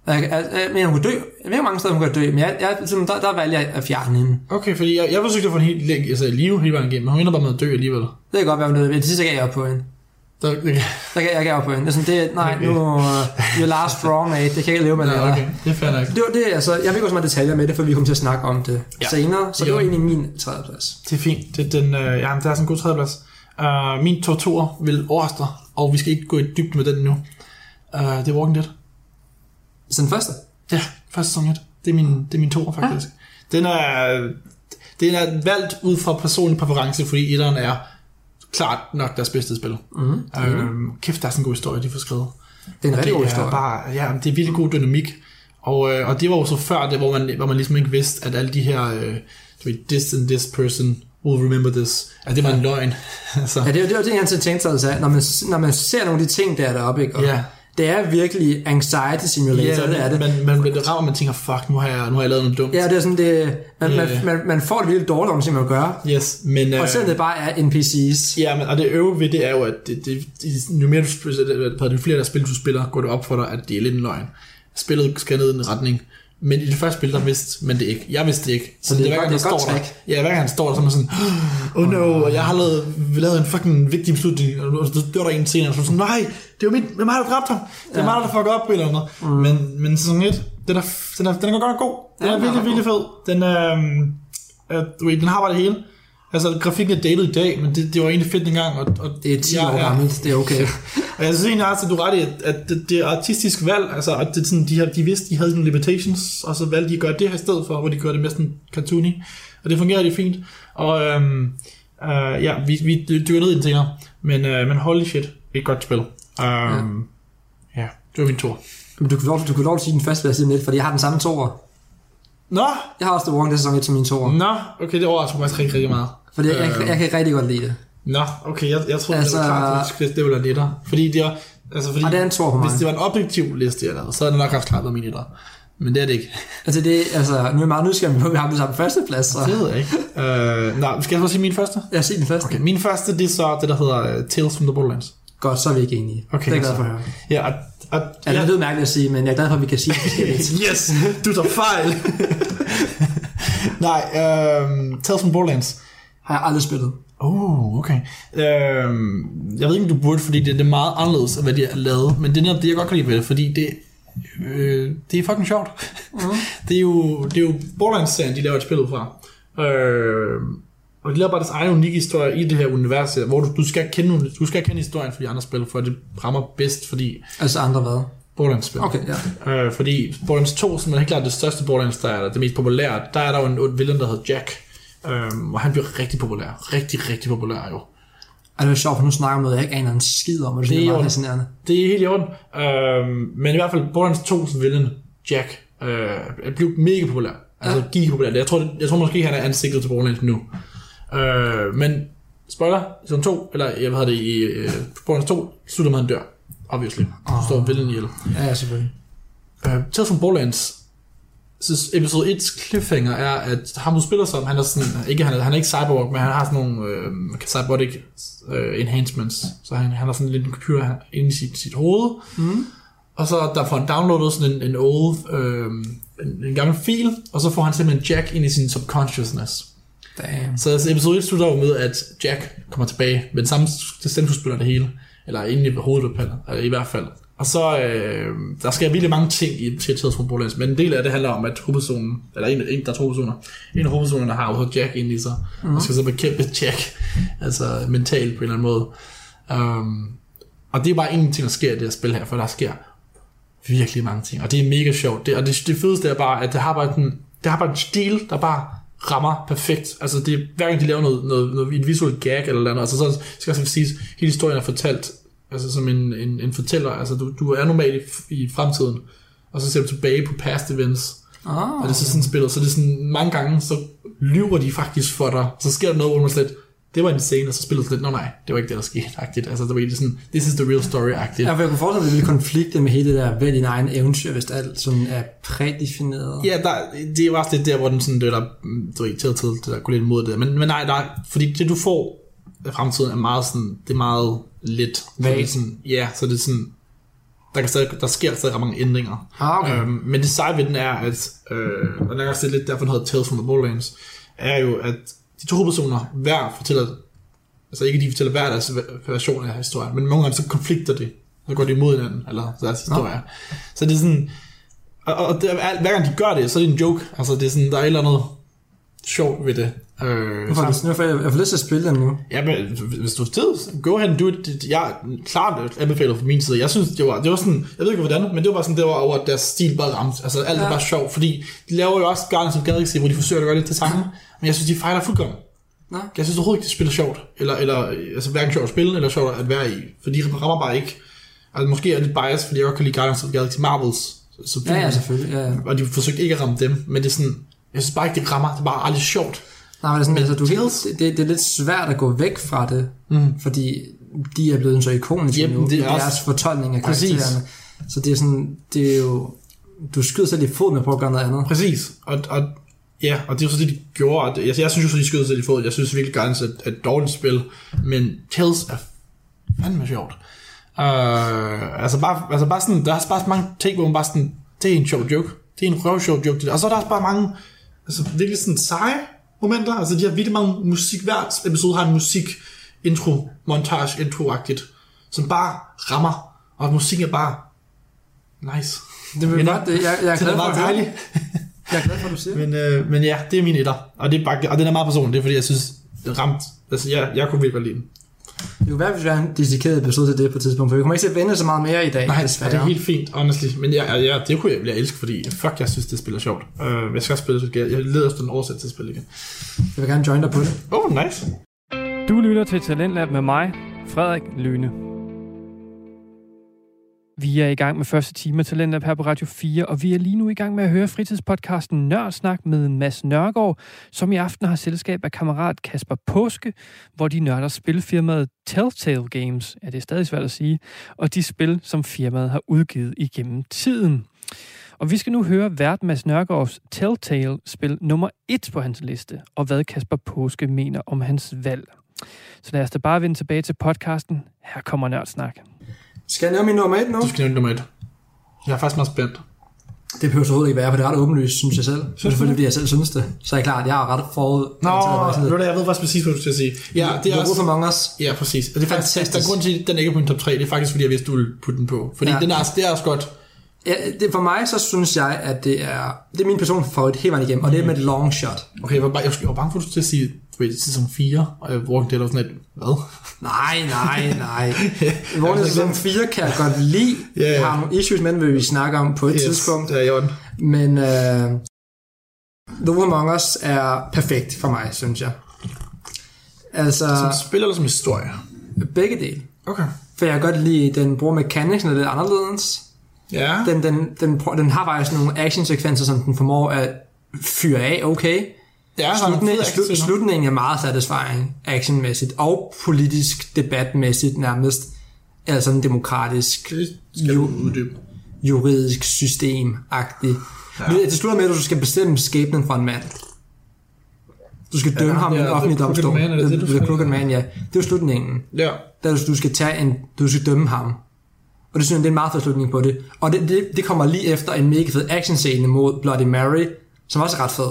Jeg, jeg, jeg mener, hun kan dø. Jeg ved ikke, hvor mange steder hun kan dø, men jeg, jeg, sådan, der, der valgte jeg at fjerne hende.
Okay, fordi jeg, jeg forsøgte at få hende helt altså, i live hele vejen igennem, men hun ender bare med at dø alligevel.
Det kan godt være, hun døde. Det sidste gav jeg op på hende.
Der, det,
Der gav jeg gav op på hende. Det er sådan, det, nej, nu uh, you're last strong, mate. Det kan jeg ikke leve med.
ja,
det der.
okay, det er fair nok.
Det var det, altså. Jeg fik også meget detaljer med det, for vi kommer til at snakke om det ja.
Ja.
senere. Så det
Ja.
var egentlig min tredjeplads.
Det er fint. Det er den, øh, ja, det er sådan en god tredjeplads. Uh, min top 2 vil overraske dig, og vi skal ikke gå i dybden med den nu. Uh, det er Walking Dead.
Så den første.
Ja, første sæson 1. Det er min, det er min toer, faktisk. Ja. Den er, den er valgt ud fra personlig præference, fordi etteren er klart nok deres bedste spil.
Mm.
Øhm, kæft, der er sådan en god historie, de får skrevet.
Det er en rigtig god
Det
historie.
er bare, ja, det er virkelig god dynamik. Og, øh, og det var jo så før det, hvor man, hvor man ligesom ikke vidste, at alle de her, øh, du ved, this and this person will remember this, at det var en løgn. altså,
Ja, det var det, var det jeg altid tænkte sig, altså, når man, når man ser nogle af de ting, der er deroppe, ikke? Og
Ja.
Det er virkelig anxiety simulator,
ja,
yeah, det er det.
Man, man bliver ramt, og man tænker, fuck, nu har jeg, nu har jeg lavet noget dumt.
Ja, det er sådan, det, man, yeah.
Ja.
man, man, man får det virkelig dårligt om, som man gør.
Yes, men... øh,
Og selvom det bare er NPC's.
Ja, men, og det øve ved det er jo, at det, det, det, jo, mere du, spiller- hvad hedder det, jo flere der spil, du spiller, går det op for dig, at det er lidt en løgn. Spillet skal ned i en retning. Men i det første spil, der vidste man det ikke. Jeg vidste det ikke. Så,
det er
hver
godt-
gang, han
det er godt
står der,
trick.
ja, hver gang han står der, så er man sådan, oh no, og jeg har lavet, lavet en fucking vigtig beslutning, og nu- så dør der en senere, og så er man sådan, nej, det er jo mit, det er mig, der dræbte ham. Det er mig, der fucker op, eller noget. Mm. Men, men sæson 1, den er, den er, den er godt nok god. Den
Ja,
ja, er
den er
virkelig, virkelig fed. Den, øh, øh, du ved, den har bare det hele. Altså, grafikken er datet i dag, men det, det var egentlig fedt dengang. Og, og
Det er 10
jeg
år gammelt, det er okay.
Og jeg synes egentlig også, at du er ret i, at- at det, det er artistisk valg. Altså, at det, er sådan, de, her, de vidste, de havde nogle limitations, og så valgte de at gøre det her i stedet for, hvor de gør det mest sådan cartoony. Og det fungerer rigtig fint. Og øhm, øh, ja, vi, vi dykker ned i den senere. Men, øh, men holy shit, et godt spil. Um, ja. ja. det var min tur.
Men du kan lov, du kan lov til at sige den første plads lige om lidt, fordi jeg har den samme toer.
Nå,
Jeg har også The Walking Dead sæson 1 som min toer.
nå, okay, det overrasker mig faktisk rigtig, rigtig meget.
Fordi jeg, jeg, jeg, kan rigtig godt lide det.
Nå, okay, jeg, jeg troede,
Altså-
altså, det var klart, at det ville være netter. Fordi det er, altså fordi,
Og det er en toer for mig.
hvis det var en objektiv liste, jeg lavede, så havde det nok haft klart været min etter. Men det er det ikke.
Altså, det, altså, nu er jeg meget nysgerrig på, at vi har den samme første plads. Så.
Det ved jeg ikke. øh, nå, skal jeg så sige min første?
Lad os se den første.
Okay, min første, det er så det, der hedder uh, Tales from the Borderlands.
Godt, så er vi ikke enige.
Okay,
det er jeg glad
altså.
for at høre.
Ja, og, og,
Ja, det lyder mærkeligt at sige, men jeg er glad for, at vi kan sige det forskelligt.
yes, du tager fejl. nej, øh, Tales from Borderlands.
har jeg aldrig spillet.
Oh, okay. Øhm, jeg ved ikke, om du burde, fordi det, det er meget anderledes, hvad de har lavet, men det er netop det, jeg godt kan lide ved det, fordi det, øh, det er fucking sjovt. Mm. det, er jo, det er jo Borderlands-serien, de laver et spil ud fra. Øh, og de laver bare deres egen unikke historie i det her univers, her, hvor du, du, skal kende, du skal kende historien for de andre spil, for det rammer bedst, fordi
Altså andre hvad?
Borderlands-spil.
Okay, ja.
Øh, fordi Borderlands 2, som er helt klart det største Borderlands, der er eller det mest populære, der er der jo en ond villain, der hedder Jack. Øhm, og han bliver rigtig populær. Rigtig, rigtig populær jo.
Og det er sjovt, for nu snakker jeg om noget, jeg ikke aner en skid om, og det,
Det
synes
er
jeg er meget
jo-
fascinerende.
Det er helt i orden. Øhm, men i hvert fald Borderlands 2 som villain, Jack, øh, blev mega populær. Altså ja. giga populær. Jeg tror, det, jeg tror måske, han er ansigtet til Borderlands nu. Øh, men spoiler, i sæson 2, eller jeg ved det, i øh, Borderlands 2, slutter man dør. Obviously. Så står villain ihjel.
Ja, ja, selvfølgelig.
Øh, Tales from Borderlands så episode 1's cliffhanger er, at ham du spiller som, han er sådan, ikke, han er, han er ikke cyborg, men han har sådan nogle øh, cybernetic øh, enhancements, så han, han har sådan lidt en computer her inde i sit, sit hoved, mm. og så der får han downloadet sådan en, en old, øh, en, en gammel fil, og så får han simpelthen Jack ind i sin subconsciousness.
Damn.
Så altså, episode 1 slutter jo med, at Jack kommer tilbage med den samme stemmeskuespiller og det hele. Eller inde i hovedet på Pallet, øh, i hvert fald. Og så, øh, der sker virkelig mange ting i, til tidsproblemet, men en del af det handler om, at hovedpersonen, eller en, en der er to personer, en af hovedpersonerne har jo Jack ind i sig, mm. og skal så bekæmpe Jack, altså mentalt på en eller anden måde. Um, og det er bare en ting, der sker i det her spil her, for der sker virkelig mange ting, og det er mega sjovt. Det, og det, det fedeste er bare, at det har bare, den, det har bare en stil, der bare rammer perfekt. Altså det er hverken de laver noget, noget, noget et visuelt gag eller noget, altså så skal jeg sige, hele historien er fortalt altså som en, en, en fortæller. Altså du, du er normalt i, i fremtiden, og så ser du tilbage på past events.
Ah.
Og det er så sådan spillet, så det er sådan mange gange, så lyver de faktisk for dig. Så sker der noget, hvor man slet, det var en scene, og så spillet lidt, nå nej, det var ikke det, der skete, agtigt. Altså det var egentlig sådan, this is the real story-agtigt.
Ja, for jeg kunne forestille mig, at det ville konflikte med hele det der vælg din egen eventyr, hvis alt sådan er prædefineret.
Ja, der, det er jo også lidt der, hvor den sådan, det der, du ved, til til, det der kunne lidt imod det. Men, men nej, der, er- fordi det du får af fremtiden er meget sådan, det er meget lidt. Så det er
Vagt.
sådan, ja, så det er sådan, der, kan stadig, der sker stadig ret mange ændringer.
Ah, okay.
Øhm, men det seje ved den er, at, øh, og det er også lidt derfor, den hedder Tales from the Borderlands, er jo, at de to personer hver fortæller, altså ikke de fortæller hver deres version af historien, men nogle gange så konflikter det, så går de imod hinanden, eller deres historier. Så det er sådan, og, og det, er- hver gang de gør det, så er det en joke. Altså, det er sådan, der er et eller andet sjovt ved det. Øh,
Hvorfor er det sådan, Hvorfor- jeg jeg får lyst til at spille den nu.
Ja, men hvis du har tid, go ahead and do it. Det- Jeg er klart anbefaler fra min side. Jeg synes, det var, det var sådan, jeg ved ikke hvordan, men det var bare sådan, det var over, at deres stil bare ramte. Altså alt ja. var bare sjovt, fordi de laver jo også Guardians of the Galaxy, hvor de forsøger at gøre lidt det samme, men jeg synes, de fejler fuldkommen.
Nå.
Jeg synes overhovedet ikke, de spiller sjovt, eller, eller øh, altså hverken sjovt at spille, eller sjovt at være i, for de rammer bare ikke. Altså måske er jeg lidt bias, fordi jeg godt kan lide Guardians of the Galaxy Marvels, så
Ja, ja, selvfølgelig. Ja. ja.
og de forsøgte ikke at ramme dem, men det er sådan, jeg synes bare ikke, det rammer, det er bare aldrig sjovt.
Nej, men det er sådan, altså, du,
Tales-
det, det, det er lidt svært at gå væk fra det, mm. fordi de er blevet så ikoniske
Jamen,
nu,
det er
i deres
også-
fortolkning af
Præcis.
karaktererne. Så det er sådan, det er jo, du skyder selv i fod med på at gøre noget andet.
Præcis, og, og, ja, og det er jo så det, de gjorde. At, jeg, jeg synes jo så, de skød sig i fod. Jeg synes virkelig, Guardians er, er et dårligt spil, men Tales er fandme sjovt. Uh, altså, bare, altså bare sådan, der er bare så mange ting, hvor man bare sådan, det er en sjov joke, det er en røvsjov joke, det der. og så er der også bare mange, altså virkelig sådan seje momenter, altså de har virkelig mange musik, hver episode har en musik intro, montage, intro-agtigt, som bare rammer, og musikken er bare nice.
Det vil
Ja,
godt, det, jeg, jeg er
Det
glad
er
for,
bare
at høre.
dejligt.
jeg er glad for, at du siger. det.
Men, øh, men ja, det er min etter. Og, det er bare, og den er meget personlig, det er fordi, jeg synes, det ramt. Altså, jeg, jeg kunne virkelig godt lide den.
Det kunne være, hvis vi har en dedikeret episode til det på et tidspunkt, for vi kommer ikke til at vende så meget mere i dag, desværre.
Nej, Altså, og det er helt fint, honestly. Men jeg, jeg, jeg, det kunne jeg, jeg elske, fordi fuck, jeg synes, det spiller sjovt. Uh, jeg skal også spille det, igen. jeg leder efter en oversæt til at spille igen.
Jeg vil gerne join dig på det.
Oh, nice.
Du lytter til Talentlab med mig, Frederik Lyne. Vi er i gang med første time af Talentlab her på Radio 4, og vi er lige nu i gang med at høre fritidspodcasten Nørdsnak med Mads Nørgaard, som i aften har selskab af kammerat Kasper Påske, hvor de nørder spilfirmaet Telltale Games, ja det er stadig svært at sige, og de spil, som firmaet har udgivet igennem tiden. Og vi skal nu høre vært Mads Nørgaards Telltale-spil nummer 1 på hans liste, og hvad Kasper Påske mener om hans valg. Så lad os da bare vende tilbage til podcasten. Her kommer Nørdsnak.
Skal jeg nævne min nummer et nu?
Du skal nævne nummer et. Jeg er faktisk meget spændt.
Det behøver så overhovedet ikke være, for det er ret åbenlyst, synes jeg selv. Synes selvfølgelig, fordi jeg selv synes det. Så er jeg klart, jeg har ret forud.
Nå,
det
ved du, jeg ved faktisk præcis, hvad du skal sige. Ja, det er også...
Among Us.
Ja, præcis. Og det er faktisk,
Fantastisk.
der er grund til, at den ikke er på min top 3. Det er faktisk, fordi jeg vidste, du ville putte den på. Fordi
Ja.
ja. den er, også- det er også godt.
Ja, det, for mig, så synes jeg, at det er, det er min person favorit hele vejen igennem, og det er med et long shot.
Okay, jeg var, bare, jeg var bange for, at du skulle til at sige, du ved, sæson 4, og uh, Walking Dead og sådan et, hvad?
Nej, nej, nej. Vores sæson 4 kan jeg godt lide.
Ja, ja.
Jeg har nogle issues med, den, vil vi snakke om på et yes. tidspunkt.
Det er i orden.
Men øh, The Wolf Among Us er perfekt for mig, synes jeg. Altså,
Som spiller eller som historie?
begge dele.
Okay.
For jeg kan godt lide, den bruger mekaniksen lidt anderledes.
Ja.
Den, den, den, prø- den har faktisk nogle actionsekvenser, som den formår at fyre af, okay?
det er sådan en
Slutningen,
fed
slu,
slut, slut.
slutningen er meget satisfying actionmæssigt og politisk debatmæssigt nærmest. Altså en demokratisk
Skal du uddybe?
juridisk system-agtig. Ja. Det slutter med, at du skal bestemme skæbnen for en mand. Du skal dømme ja, ham i
ja,
en
The
offentlig
Crooked
domstol.
Man, er det det,
The,
du
the
skal?
Crooked Man, ja. Det er jo slutningen.
Ja.
Der du, du skal tage en, du skal dømme ham. Og det synes jeg, det er en meget fed slutning på det. Og det, det, det kommer lige efter en mega fed actionscene mod Bloody Mary, som også er ret fed.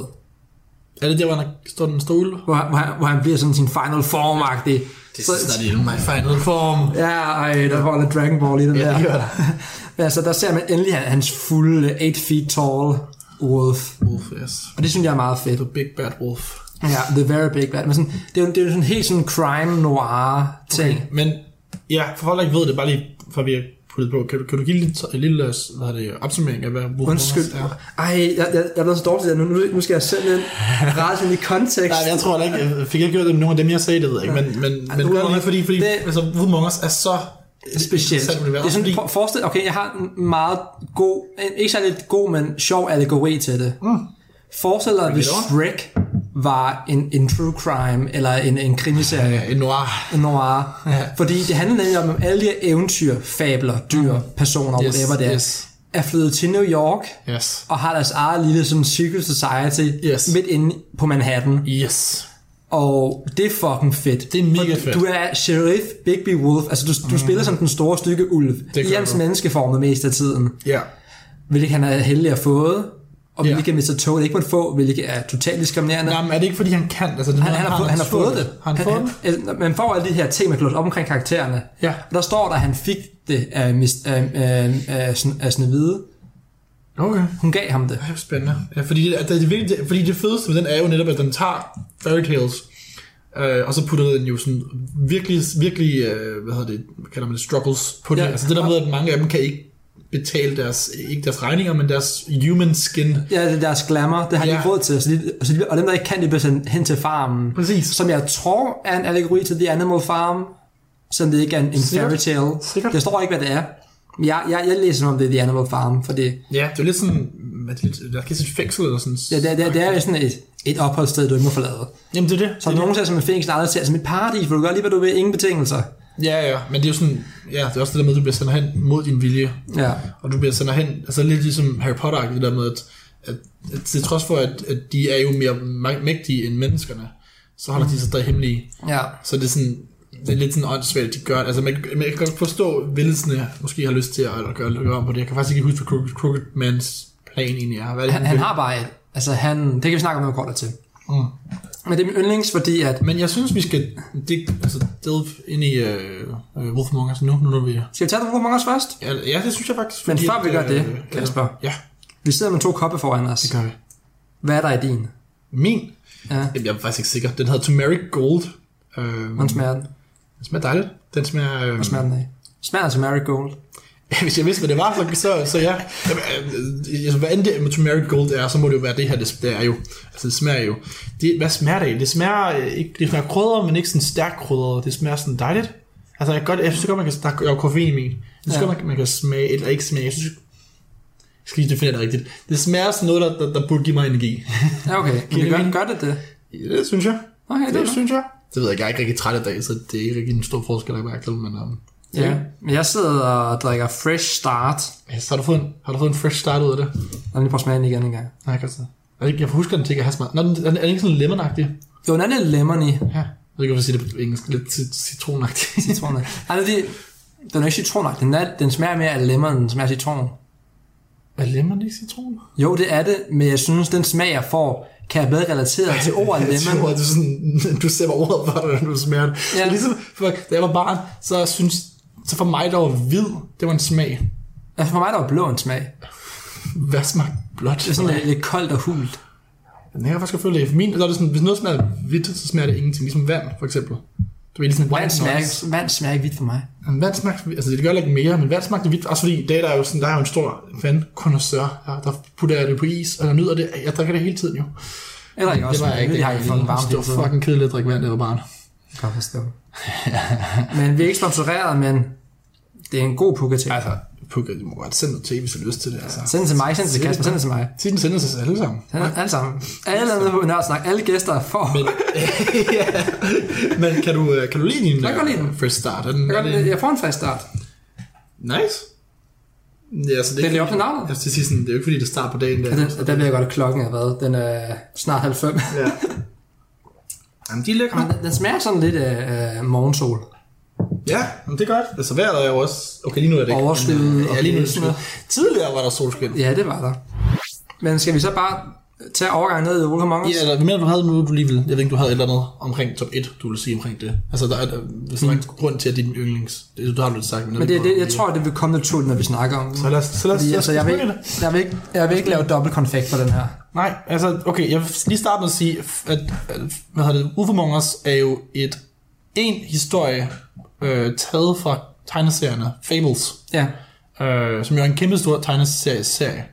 Er det der, hvor han har- står den stol?
hvor, hvor, han, hvor han bliver sådan sin final form-agtig.
Det
Så-
er snart in my final form.
Ja, ej, der holder Dragon Ball i den der.
det gør der.
Men altså, der ser man endelig han- hans fulde 8 feet tall wolf.
Wolf, yes.
Og det synes jeg er meget fedt.
The big bad wolf.
Ja, The Very Big Bad. Men sådan, det er jo, det er jo sådan helt sådan crime noir ting. Okay.
Men ja, for folk, der ikke ved det, bare lige for vi har puttet på, kan du, kan du give en lille, en lille hvad er det, opsummering af, hvad Wolf
Undskyld.
Brothers er?
Ej, jeg, jeg, jeg er blevet så dårlig til det. Nu, nu, nu skal jeg selv ind rette i kontekst.
Nej, jeg tror da ikke, jeg fik ikke gjort det med nogen af dem, jeg sagde, det ved jeg ikke, men, men, men
du har
det var
lige-
lige fordi, fordi
det-
det, altså, Woodmongers er så
specielt.
Selv univers,
Det er sådan,
fordi-
for, forestil, okay, jeg har en meget god, en, ikke særlig god, men sjov allegori til det. Mm. Forestil dig, hvis Shrek var en, en true crime, eller en, en krimiserie,
en noir.
en noir. Ja. Fordi det handler nemlig om, at alle de her eventyr, fabler, dyr, mm. personer, yes,
Yes,
whatever det er,
yes.
er flyttet til New York,
Yes.
og har deres eget lille sådan, secret society
Yes.
midt inde på Manhattan.
Yes.
Og det er fucking fedt.
Det er mega
For
fedt. Mhm.
Du er sheriff Bigby Wolf. Altså, du, du mm. spiller som den store stykke ulv.
Det
I
gør
hans
du.
menneskeformet mest af tiden.
Ja.
Hvilket han er heldig at få. Og
Ja.
hvilket Mr. Toad ikke måtte få. Hvilket er totalt diskriminerende.
Nej, men er det ikke, fordi han kan? Altså, det er
Han,
noget,
han, har, fået, han har fået det.
naturligt. Har han, fået det?
altså, Man får alle de her ting, man op omkring karaktererne.
Ja.
Og der står der, at han fik det af, mis, af, af, af, Sn- af Snevide.
Okay.
Hun gav ham det.
Det er spændende. Ja, fordi, det, altså, det, er virkelig, det, fordi det fedeste ved den er jo netop, at den tager fairy tales, øh, og så putter den jo sådan virkelig, virkelig øh, hvad hedder det, hvad kalder man det, struggles på det.
Ja.
Ja. Altså det der med, at mange af dem kan ikke betale deres, ikke deres regninger, men deres human skin.
Ja, det er deres glamour, det har de
Ja.
ikke råd til. Så de, så de, og dem, der ikke kan, de bliver sendt hen til farmen.
Præcis.
Som jeg tror er en allegori til The Animal Farm, som det ikke er en, en
Sikkert.
fairy tale.
Sikkert.
Det står ikke, hvad det er. Men Jeg, jeg, jeg læser om det er The Animal Farm, for det,
Ja, det er lidt sådan, hvad er det, lidt- der kan sige fængsel eller sådan.
ja, det, det, det er jo sådan et, et opholdssted, du ikke må forlade.
Jamen det er det.
Så
det, er
nogen ser som en fængsel, og andre ser som et paradis, hvor du gør lige, hvad du vil, ingen betingelser.
det. Ja, ja, men det er jo sådan, ja, det er også det der med, at du bliver sendt hen mod din vilje.
Ja.
Og du bliver sendt hen, altså lidt ligesom Harry potter det der med, at, at, at til trods for, at, at de er jo mere ma- mægtige end menneskerne, så holder de sig stadig hemmelige.
ja.
Så det er sådan, det er lidt sådan åndssvagt, at de gør det. Altså man, man kan godt forstå, hvilelsene måske har lyst til at, at gøre, at gøre om på det. Jeg kan faktisk ikke huske, hvad Crooked, Crooked Mans plan egentlig er. Hvad er det,
Han, han
vil?
har bare et, altså han, det kan vi snakke om, når vi kommer til.
Mm.
Men det er min yndlings, fordi at,
Men jeg synes, vi skal dig, altså, delve ind i øh, øh, Wolfmongers nu, nu når vi...
skal vi tage The Wolfmongers først?
Ja, ja, det synes jeg faktisk.
Men
fordi
før
at,
vi gør
øh,
det,
øh,
Kasper.
Ja,
Vi sidder med to kopper foran os.
det gør vi.
Hvad er der i din?
Min
Ja.
Jamen, jeg er faktisk ikke sikker. Den hedder Turmeric Gold. Øh,
Hvordan smager den?
den smager dejligt. Den smager... Øh,
Hvad smager den af? Smager til marigold.
hvis jeg vidste, hvad det var, så, så, så ja. Jamen, øh, altså, hvad end det med Turmeric Gold er, så må det jo være det her, det, det er jo. Altså, det smager jo. Det, hvad smager det af? Det smager, øh, ikke, det smager krydder, men ikke sådan stærkt krydder. Det smager sådan dejligt. Altså, jeg, kan godt, jeg synes godt, man kan... Der er jo koffein i min. Jeg synes
Ja.
ja. godt, man, kan- man kan smage, eller ikke smage. Jeg synes, jeg skal lige definere det rigtigt. Det smager sådan noget, der, der, der burde give mig energi.
Ja, okay. Men det gør, gør det det?
Ja, det synes jeg.
Okay, det,
Det
det
synes jeg. Det ved jeg ikke. Jeg er ikke rigtig træt i dag, så det er ikke rigtig en stor forskel, jeg mærker, men um,
Ja. Men jeg sidder og drikker Fresh Start.
ja, så har, du fået en, har du fået en fresh start ud af det?
Lad mig lige prøve at smage den igen en gang.
Nej, jeg kan se. Jeg, jeg husker den til ikke at have smagt. Nå, den, er, den- er den ikke sådan lemonagtig?
Jo, den er lidt lemony,
Ja. Jeg ved ikke, hvorfor jeg siger det på engelsk. Lidt cit- citronagtig.
citronen. Nej, det er de- den er ikke citronagtig. Den, er, den smager mere af lemon, end den smager af citron.
er lemon ikke citron?
Jo, det er det, men jeg synes, den smag, jeg får, kan jeg bedre relatere til ordet
Jeg
lemon.
tror, at du, sådan, du ser bare ordet for dig, når du smager det.
Ja.
Ja. Ligesom, for, da jeg var barn, så synes så for mig, der var hvid, det var en smag.
Altså for mig, der var blå en smag.
Hvad smagte blåt?
Det er sådan lidt, lidt koldt og hult.
Den her kan jeg faktisk godt føle det. For min, så er det sådan, hvis noget smager hvidt, så smager det ingenting. Ligesom vand, for eksempel. Du ved, ligesom
Vand
white
smager,
noise.
ikke, vand smager ikke vidt for mig.
Men vand smagte, altså det gør heller ikke mere, men vand smagte vildt, også fordi i dag der er jo sådan, der er jo en stor vandkondensør, der, der putter jeg det på is, og jeg nyder det, jeg drikker det hele tiden jo.
Eller ikke også.
det var jeg ikke,
det har
dengang
ikke fucking
var
varmt.
lille.
hele
Det
tiden.
var fucking kedeligt at drikke vand, det var barn.
Godt forstå. men vi er ikke sponsoreret, men det er en god pukke til.
Altså, Pukka, du må godt sende noget til, hvis du har lyst til det, altså.
Send den til mig, send den til Kasper, send den til mig.
Sig den sender sig alle sammen.
Send den alle sammen. altså, Alle andre
Altså.
på Nørresnak, alle gæster får.
ja. Men kan du, øh, kan du lide din
Jeg kan godt
øh,
lide den.
first start? Er den,
Jeg
er
kan godt-
den
Jeg får en fast start.
nice? Ja, så det,
Det er lige op til navnet.
Jeg skal sige sådan, det er jo ikke fordi, det starter på dagen der.
Og den- og der ved jeg godt, at klokken er hvad. Den er snart halv fem.
Ja. Jamen, de er lækre.
Men den- den smager sådan lidt af øh, morgensol.
Ja, men det er godt. Altså vejret er jo også... Okay, lige nu er det ikke.
Overskyet
men, øh,
og
ja, lige nu er det
blæsende.
skyet. Tidligere var der solskin.
Ja, det var der. Men skal vi så bare tage overgangen ned i Wolfram Among Us?
Ja, eller hvad mener du, havde nu, du lige vil, jeg ved ikke, du havde et eller andet omkring top 1, du ville sige omkring det. Altså, der er, der, hvis der er en grund til, at din yndlings, det, du har du lidt sagt,
Mm. Men det, det, jeg tror, det vil komme naturligt, når vi snakker om det.
Så lad os, så lad os,
Fordi,
lad os
altså, jeg, vil,
snakke
ikke-
om det.
jeg, vil ikke, jeg vil ikke lave dobbelt konfekt på den her.
Nej, altså, okay, jeg vil lige starte med at sige, at, at hvad hedder det, Ufo Mongers er jo et, en historie, øh, taget fra tegneserierne Fables,
Ja.
øh, som jo er en kæmpe stor tegneserie,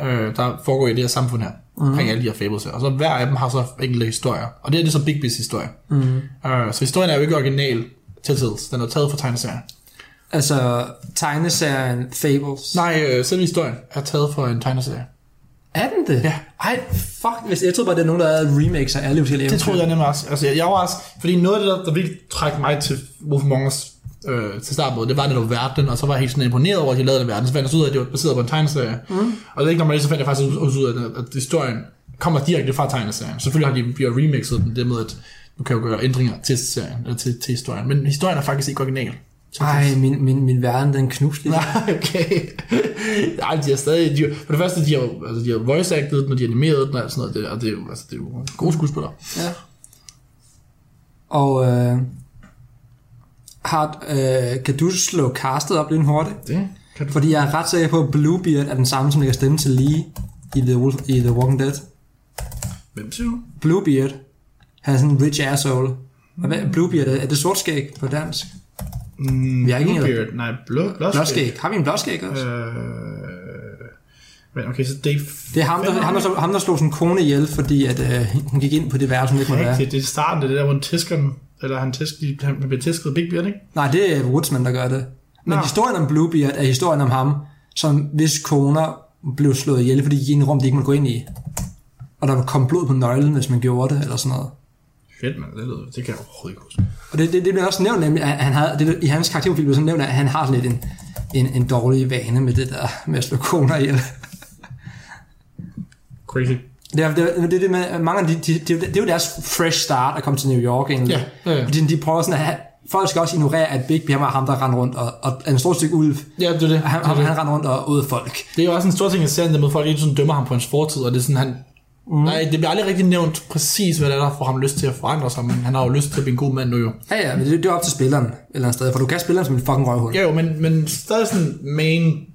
øh, der foregår i det her samfund her, mm. omkring alle de her fables her. Og så hver af dem har så enkelte historier, og det her det er så Big Biz historie. Mm. Øh, så historien er jo ikke original til tids, den er taget fra tegneserien.
Altså, tegneserien Fables.
Nej, øh, selve historien er taget fra en tegneserie.
Er den det?
Ja.
Ej, fuck, hvis jeg troede bare, det er nogen, der havde remakes af alle forskellige
Det troede jeg nemlig også. Altså, jeg, jeg var også, fordi noget af det, der, der virkelig trak mig til Wolf Among Us øh, til start med, det var netop verden, og så var jeg helt sådan imponeret over, at de lavede den verden. Så fandt jeg så ud af, at det var baseret på en tegneserie. Mm. Og det er ikke normalt, så fandt jeg faktisk også ud af, at, at historien kommer direkte fra tegneserien. Selvfølgelig har de bliver remixet den, det med, at du kan jo gøre ændringer til serien, eller til, til historien. Men historien er faktisk ikke original.
Ej, min, min, min verden, den knuste lige.
Nej, okay. Nej, de er stadig... De, for det første, de har, jo- altså, de har voice acted den, og de har animeret den, og alt sådan noget. Det, og det er jo, altså, det er jo gode skuespillere.
Ja. Og øh, har, øh, kan du slå castet op lidt hurtigt?
Det kan du
Fordi jeg er ret sikker på, at Bluebeard er den samme, som lægger stemme til Lee i The, Wolf, i The Walking Dead.
Hvem siger du?
Bluebeard, han er sådan en rich asshole. Og hvad, Bluebeard, er er det sortskæg på dansk?
Mm,
Vi har ikke en-
Bluebeard. Nej, blå, blåskæg.
Blåskæg. Har vi en blåskæg også?
Øh, men okay, så Dave...
Det er ham, der, ham, der, slog, ham, der slog sin kone ihjel, fordi at, øh, hun gik ind på det værelse, hun ikke måtte være.
Rigtigt, det er starten, det er der, hvor han tæsker den. Eller han, tæsk, de- han bliver tæsket af Big Beard, ikke?
Nej, det er Woodsman, der gør det. Men
Nå.
historien om Bluebeard er historien om ham, som hvis koner blev slået ihjel, fordi de gik i en rum, de ikke måtte gå ind i. Og der kom blod på nøglen, hvis man gjorde det, eller sådan noget.
Fedt, mand. Det, lyder, det kan jeg overhovedet ikke huske.
Og det, det, det bliver også nævnt, nemlig, at han havde, det, i hans karakterprofil blev sådan nævnt, at han har sådan lidt en, en, en dårlig vane med det der med at slå koner ihjel.
Crazy.
Det er det, er- det, er det med, at mange af de, de, de, det er jo deres fresh start at komme til New York egentlig.
Ja, ja, ja.
Fordi de prøver sådan at have, folk skal også ignorere, at Big Birma er ham, der render rundt og, og er en stor stykke ulv.
Ja, det er det.
Han, han, han render rundt og åd folk.
Det er jo også en stor ting i serien, der med at folk hele tiden dømmer ham på hans fortid, og det er sådan, han... Mm. Nej, det bliver aldrig rigtig nævnt præcis, hvad det er, der får ham lyst til at forandre sig, men han har jo lyst til at blive en god mand nu jo.
Ja, ja, men det, det er op til spilleren et eller andet sted, for du kan spille ham som et fucking røvhul.
Ja jo, men, men stadig sådan main...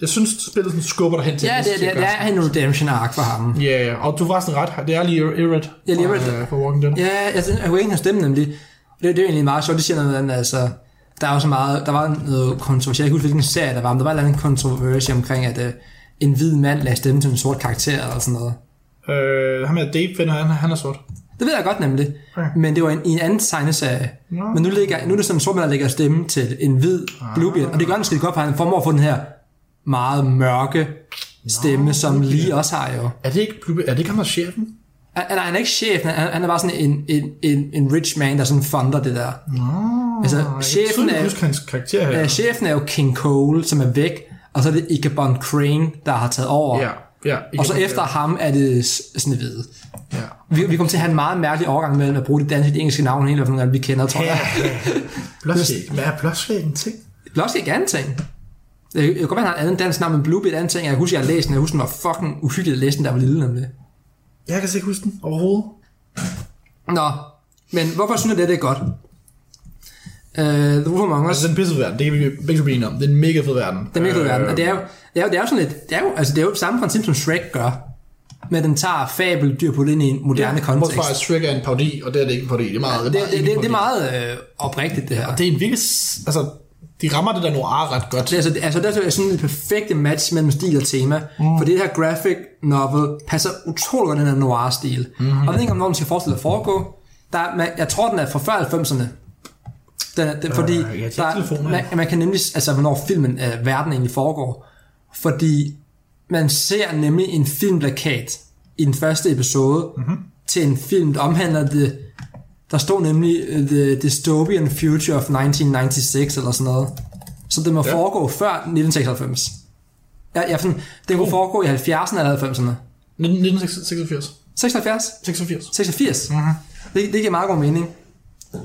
Jeg synes, spillet sådan skubber dig hen til
ja
at
det,
lyst til
det,
at
det,
gøre
er Mm. en redemption arc for ham.
Ja, yeah, og du var sådan ret. Det er lige Irrit.
Ja, lige Everett.
For, for øh, Walking Dead. Yeah.
Ja, jeg synes, jeg kunne ikke have stemme nemlig. Og det, det er jo egentlig meget sjovt, det siger noget andet, altså... Der er jo så meget, der var noget kontroversielt, jeg kan ikke huske, hvilken serie der var, men der var en eller anden kontroversie omkring, at øh, en hvid mand lagde stemme til en sort karakter eller sådan noget.
Øh, ham er Dave finder, han, han er sort.
Det ved jeg godt nemlig,
Ja.
men det var en, i en anden tegneserie.
Nå.
Men nu, ligger, nu er det sådan en sort mand, der lægger stemme til en hvid Bluebeard, og det gør han skide godt, for han formår at få den her meget mørke stemme, som lige også har jo.
Er det ikke, Blue- er det ikke ham, der er chefen?
Han, han er- han er ikke chef, han, han han er bare sådan en, en, en, en rich man, der sådan funder det der.
Nå,
Altså,
jeg
chefen
kan tydeligt
er-
huske hans karakter her.
Øh, chefen er jo King Cole, som er væk, og så er det Ikebon Crane, der har taget over.
ja, ja.
Og så efter ham er det S- Snevide.
Ja.
Vi, vi kommer til at have en meget mærkelig overgang mellem at bruge det danske og det engelske navn, hele nogle gange, vi kender, tror jeg.
Blåskæg. Hvad er blåskæg en ting?
Blåskæg ikke anden ting. Jeg jeg kan godt være, han har en anden dansk navn, men Bluebeard er en anden ting. Jeg husker, jeg læste den. Jeg husker, den var fucking uhyggelig at læse den, der var lille nemlig.
Jeg kan slet ikke huske den overhovedet.
Nå, men hvorfor synes jeg, det, det er godt? Uh, The Wolf Among Us.
Altså, det er en pissefed verden. Det kan vi begge to blive enige om. Det er en mega fed verden.
Den virkelig øh, verden. Og det er, jo, det, er jo, det er jo sådan lidt, det er jo, altså det er jo samme princip, som Shrek gør. Men den tager fabeldyr på det ind i en moderne ja, kontekst.
Hvorfor er Shrek er en parodi, og det er det ikke en parodi. Det er meget,
Det, det, det, det er
meget...
meget øh, oprigtigt, det her.
Det er en virkelig... s- Altså, de rammer det der noir ret godt.
Det, er altså, det, altså, det er sådan en perfekte match mellem stil og tema, mm. for det her graphic novel passer utrolig godt i den her noir-stil. Mm-hmm. Og jeg ved ikke, om nogen skal forestille at foregå. Der, er- man, jeg tror, den er fra før 90'erne. Den, er- den, fordi
jeg tænker telefonen,
man, man kan nemlig, altså hvornår filmen, øh, verden egentlig foregår. Fordi man ser nemlig en filmplakat i den første episode mm-hmm. til en film, der omhandler det. Der stod nemlig øh, The Dystopian Future of 1996 eller sådan noget. Så det må ja. foregå før 1996. Ja, ja, sådan, det kunne foregå i 70'erne eller 90'erne.
1986.
76?
86.
86? Mm-hmm. Det, det giver meget god mening.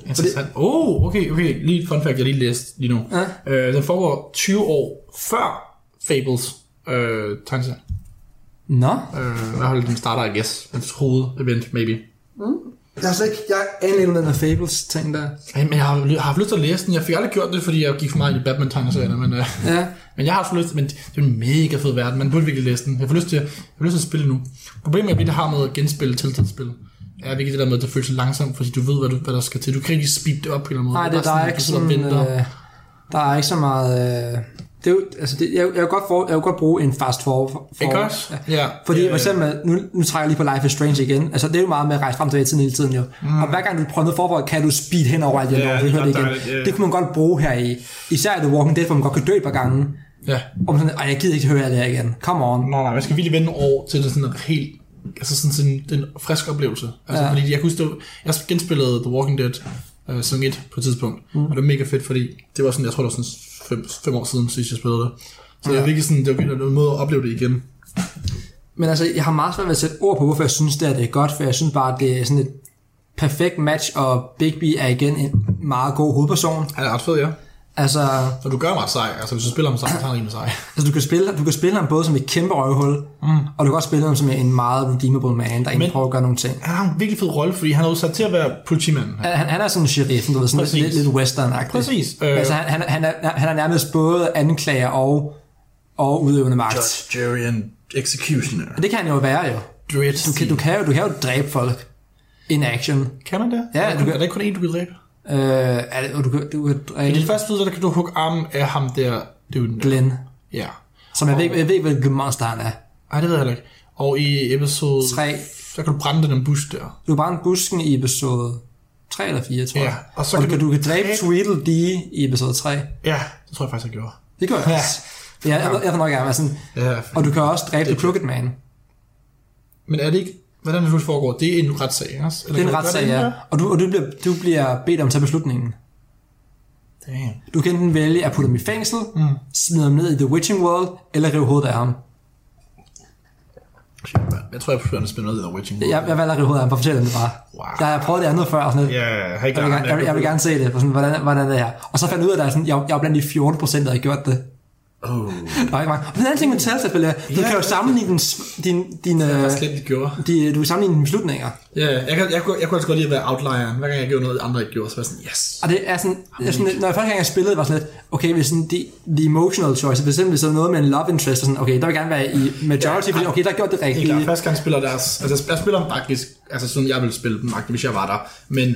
Interessant. Åh, oh, okay, okay. Lige et fun fact, jeg lige læste lige nu.
Ja.
Øh, den foregår 20 år før Fables øh, tegneserie.
Nå,
Øh, I hvert fald den starter, I guess. Hans hovedevent, maybe.
jeg har slet ikke, jeg aner ikke noget med Fables ting der.
Ej, men jeg har, jeg har haft lyst til at læse den. Jeg fik aldrig gjort det, fordi jeg gik for meget i batman tegneserierne men, øh,
Ja,
men jeg har haft lyst til, men det er en mega fed verden. Man burde virkelig læse den. Jeg får lyst til, jeg får lyst til at spille nu. Problemet er, at det har med at genspille tiltidsspil. Er virkelig det der med, at det føles så langsomt, fordi du ved, hvad, du, hvad der skal til. Du kan ikke lige speede det op på en eller anden måde.
nej, det, der
bare
er
at
ikke
du sidder og
sådan,
venter.
øh, der er ikke så meget, øh, det er jo, altså det, jeg, jeg, vil godt for, jeg vil godt bruge en fast for, for
Ikke også? Ja.
Fordi for
Øh,
eksempel, nu, nu trækker jeg lige på Life is Strange igen. Altså, det er jo meget med at rejse frem til tiden hele tiden jo. Mm. Og hver gang du prøver noget forberedt, kan du speed hen over alt, jeg
Ja,
yeah,
det er
det, det,
ret
igen.
dejligt, ja.
det kunne man godt bruge her i. Især i The Walking Dead, hvor man godt kan dø et par gange.
Ja.
Og man sådan, "Ej, jeg gider ikke høre alt det her igen. Come on.
Nå, nej, man skal virkelig vente nogle år til det er sådan en helt altså sådan, sådan en frisk oplevelse. Altså,
Ja.
ja. fordi jeg kunne stå, jeg genspillede The Walking Dead uh, sæson 1 på et tidspunkt, mm. og det var mega fedt, fordi det var sådan, jeg tror, det var sådan 5, 5 år siden, sidst jeg spillede det. Så det var virkelig sådan, det var virkelig en måde at opleve det igen.
Men altså, jeg har meget svært ved at sætte ord på, hvorfor jeg synes, det, er, det er godt, for jeg synes bare, det er sådan et perfekt match, og Bigby er igen en meget god hovedperson.
Han er ret fed, ja.
Altså,
Så du gør ham ret sej. Altså, hvis du spiller ham sej, så er han rimelig sej.
altså du, kan spille, du kan spille ham både som et kæmpe røvhul, mm. og du kan også spille ham som en meget redeemable man, der egentlig
Men-
prøver at gøre nogle ting.
Han har en virkelig fed rolle, fordi han er udsat til at være politimanden.
Ja, Han, han er sådan sheriffen, du ved, sådan
Præcis.
lidt, lidt western-agtig.
Præcis.
Øh. Altså, han, han, han, er, han er nærmest både anklager og, og udøvende magt. Just.
Jerry and Executioner.
Og det kan han jo være jo.
Dread
Du kan, du kan, jo, du kan jo dræbe folk in action.
kan man det?
Ja,
er, der
du
kun-
kan-
er der ikke kun én, du kan dræbe?
Øh, er det- og du kan, du kan
I
dræbe
dit første video, der kan du hugge armen af ham der. Det er
Glenn,
Ja.
som jeg ved, ikke- jeg ved ikke, hvilket monster han er.
Ej, det ved jeg heller ikke. Og i episode...
Tre.
Der kan du brænde den busk der.
Du er bare en busken i episode 3 eller 4, tror
Ja,
jeg.
og så
og
kan
du, kan, du
du
kan dræbe
dræbe-
Tweedledee i episode 3.
Ja, det tror jeg faktisk, jeg gjorde.
Det gør jeg
Ja.
også. Ja, jeg, jeg, jeg, jeg, jeg, jeg, sådan,
Ja,
og du kan også dræbe The Crooked Man.
Men er det ikke... Hvordan det foregår? Det er en retssag, ikke? også? Eller
Det er en
kan du
retssag,
gøre det
ja.
inden
Og, du, og du, bliver, du bliver bedt om at tage beslutningen.
der? Damn.
Du kan enten vælge at putte ham i fængsel, mm. smide ham ned i The Witching World, eller rive hovedet af ham.
Shit, mand. Jeg tror, jeg forsøger at spille noget af The Witching World.
Jeg, jeg valgte at rive hovedet af ham, for fortæl dem det bare.
Wow.
Jeg har prøvet det andet før, og sådan noget.
Ja, har ikke
Jeg vil, gerne, jeg, vil, jeg vil gerne se det, for sådan, hvordan, hvordan er det her. Og så fandt jeg ud af, at der er sådan, jeg, jeg var blandt de 14 procent, der har gjort det. Oh. Der var ikke mange. Og den anden ting med Telltale, er, du kan jo sammenligne din, s- din, din,
Jeg
øh,
har slet ikke gjort.
de, du kan sammenligne dine beslutninger.
Ja, jeg, kan, jeg, kunne, jeg kunne altså godt lide at være outlier. Hver gang jeg gjorde noget, andre ikke gjorde, så var jeg sådan, yes.
Og det er sådan, det er sådan lidt- når jeg første gang jeg spillede, var sådan lidt, okay, hvis sådan de, the emotional choice, for eksempel hvis der var noget med en love interest, så sådan, okay, der vil jeg gerne være i majority, fordi okay, der har gjort det
Helt klart.
rigtige.
Første gang spiller deres... Altså, jeg spiller dem faktisk, altså sådan jeg ville spille dem, magtigt, hvis jeg var der. Men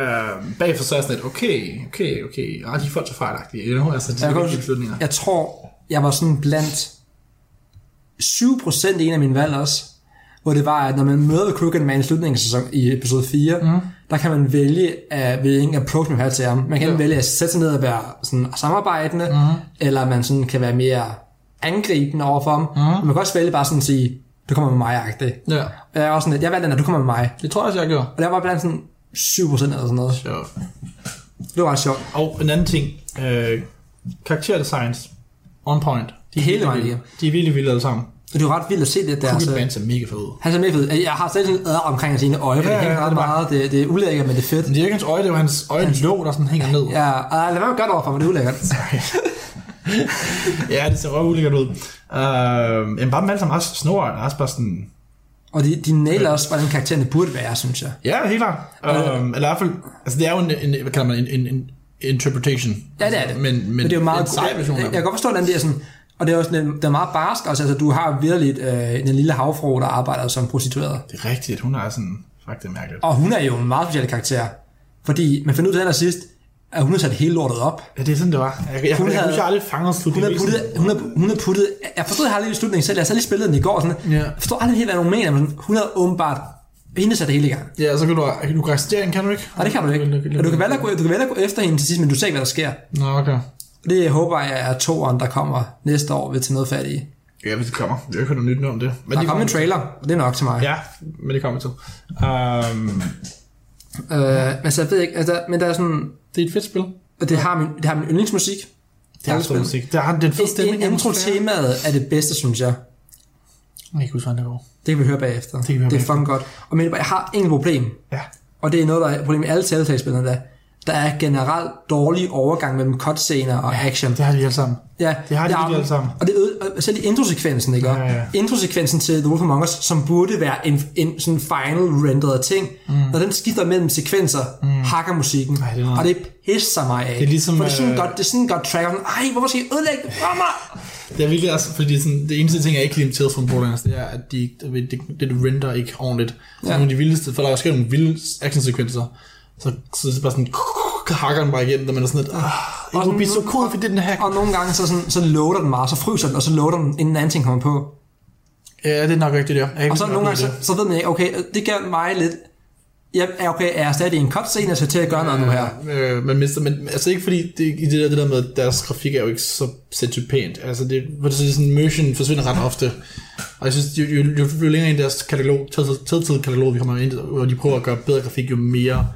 øh, bagefter så er jeg sådan lidt, okay, okay, okay. Ah, de er folk så fejlagtige. Jeg håber, altså, de
Så jeg,
er
kan,
rigtige beslutninger.
huske- jeg tror, jeg var sådan blandt 7% i en af mine valg også, hvor det var, at når man møder The Crooked Man i slutningen af sæson, i episode 4, mm. der kan man vælge, at hvilken approach man har til ham. Man kan ja. vælge at sætte sig ned og være sådan samarbejdende, mm. eller man sådan kan være mere angribende overfor ham. Mm. Men man kan også vælge bare sådan at sige, du kommer med mig, agtig.
Ja,
Jeg er også sådan lidt, jeg valgte den, at du kommer med mig.
det tror jeg også, jeg gjorde.
Og der var blandt sådan 7% eller sådan noget.
Sjovt.
Det var ret sjovt.
Og en anden ting, øh, karakterdesigns, on point. De er
Hele
virkelig
vejen
vilde.
igennem.
De er virkelig vilde alle sammen.
Og det var ret vildt at se det der.
Cookie
så-
Bands er mega fede.
Han er med fed. Jeg har selv sådan et ad omkring sine øje, for
Ja,
det
ja,
hænger
ja,
ret
det er
meget. Det, det er ulækkert, men det er fedt.
Men det er ikke hans øje, det er jo hans øjenlåg, der sådan hænger ned.
Ja, og lad være med at gøre det overfor mig, det er ulækkert.
ja det ser røv ulækkert ud. Øh, jamen bare dem alle sammen også snor, og også bare sådan...
Og de, de nailer også, hvordan karaktererne burde være, synes jeg.
Ja, helt klart. Øh, eller i hvert fald, altså det er jo en, en hvad kalder man, en, en, en interpretation. Altså,
Ja, det er det.
Men, men, men
det er jo meget...
en sej version
jeg,
af
jeg
dem.
kan godt forstå, hvordan det er sådan... Og det er også den, den er meget barsk også. Altså, du har virkelig øh, den lille havfru, der arbejder som prostitueret.
Det er rigtigt, hun er sådan... Fuck, det er mærkeligt.
Og hun er jo en meget speciel karakter. Fordi man finder ud af den sidst, at hun har sat hele lortet op.
Ja, det er sådan, det var. Jeg, jeg, jeg,
Hun
jeg, jeg,
havde-
jeg, jeg aldrig fanget
Hun har
slutningen.
puttet, hun har, hun har puttet, jeg forstod jeg har lidt i slutningen selv, jeg har selv lige spillet den i går, sådan,
Ja.
jeg forstår aldrig helt, hvad hun mener, men hun har åbenbart, hende satte det hele i gang.
Ja, så kan du, kan du kan arrestere hende, kan du ikke?
Nej, det kan du ikke. Og du kan vælge at gå, du kan vælge at gå efter hende til sidst, men du ser ikke, hvad der sker.
Nå, okay.
Og Det håber jeg er toeren, der kommer næste år ved til noget fat i.
Ja, hvis det kommer. Jeg har ikke hørt noget nyt om det. Men
Der
det
kommer en trailer, og det er nok til mig.
Ja, men det kommer til. Um,
Øh, men så jeg ved ikke, altså, men der er sådan,
det er et fedt spil.
og det har min, det har min yndlingsmusik.
Det er fed musik. Det har den fede stemning. atmosfære.
Intro-temaet er det bedste, synes jeg.
Jeg kan ikke huske, hvordan det går.
Det kan vi høre bagefter. Det,
kan vi høre
det er fucking godt. Og men jeg har et enkelt problem,
Ja.
og det er noget, der er et problem i alle Telltale-spillerne der. Der er generelt dårlig overgang mellem cutscener og action.
Det har de alle sammen.
Ja,
Det har de
ja,
virkelig alle sammen.
Og det øde, og selv i introsekvensen, ikke? Ja,
Ja,
ja.
ja.
Introsekvensen til The Wolf Among Us, som burde være en, en sådan final rendered ting, mm. når den skifter mellem sekvenser, mm. hakker musikken,
Ej, det er noget-
og det pisser mig af. Det
er ligesom,
For det er sådan
øh,
godt, det er sådan godt tracker, sådan, ej, hvorfor skal I ødelægge det for mig?
Det er virkelig også, fordi sådan, det eneste ting, jeg ikke kan imitere fra Borderlands, det er, at de, det, det, det render ikke ordentligt. Ja. Nogle af de vildeste, for der er også nogle vilde actionsekvenser. Så, så det er bare sådan, hakker den bare igennem, og man er sådan lidt, ah, it would be so cool, if it didn't hack.
Og nogle gange, så, sådan, så loader den meget, så fryser den, og så loader den, inden en anden ting kommer på.
Ja, det er nok rigtigt, ja. Jeg kan
Og så
nok
nogle gange,
lide
så, så ved man ikke, okay, det gør mig lidt... Ja, okay, er jeg stadig i en cutscene, så til at gøre noget nu her?
Øh, man mister, men altså ikke fordi det, i det der, det der med, at deres grafik er jo ikke så sindssygt pænt. Altså det, hvor det er sådan, motion forsvinder ret ofte. Og jeg synes, jo, jo, jo, jo længere ind i deres katalog, tidtid katalog, vi kommer ind, hvor de prøver at gøre bedre grafik, jo mere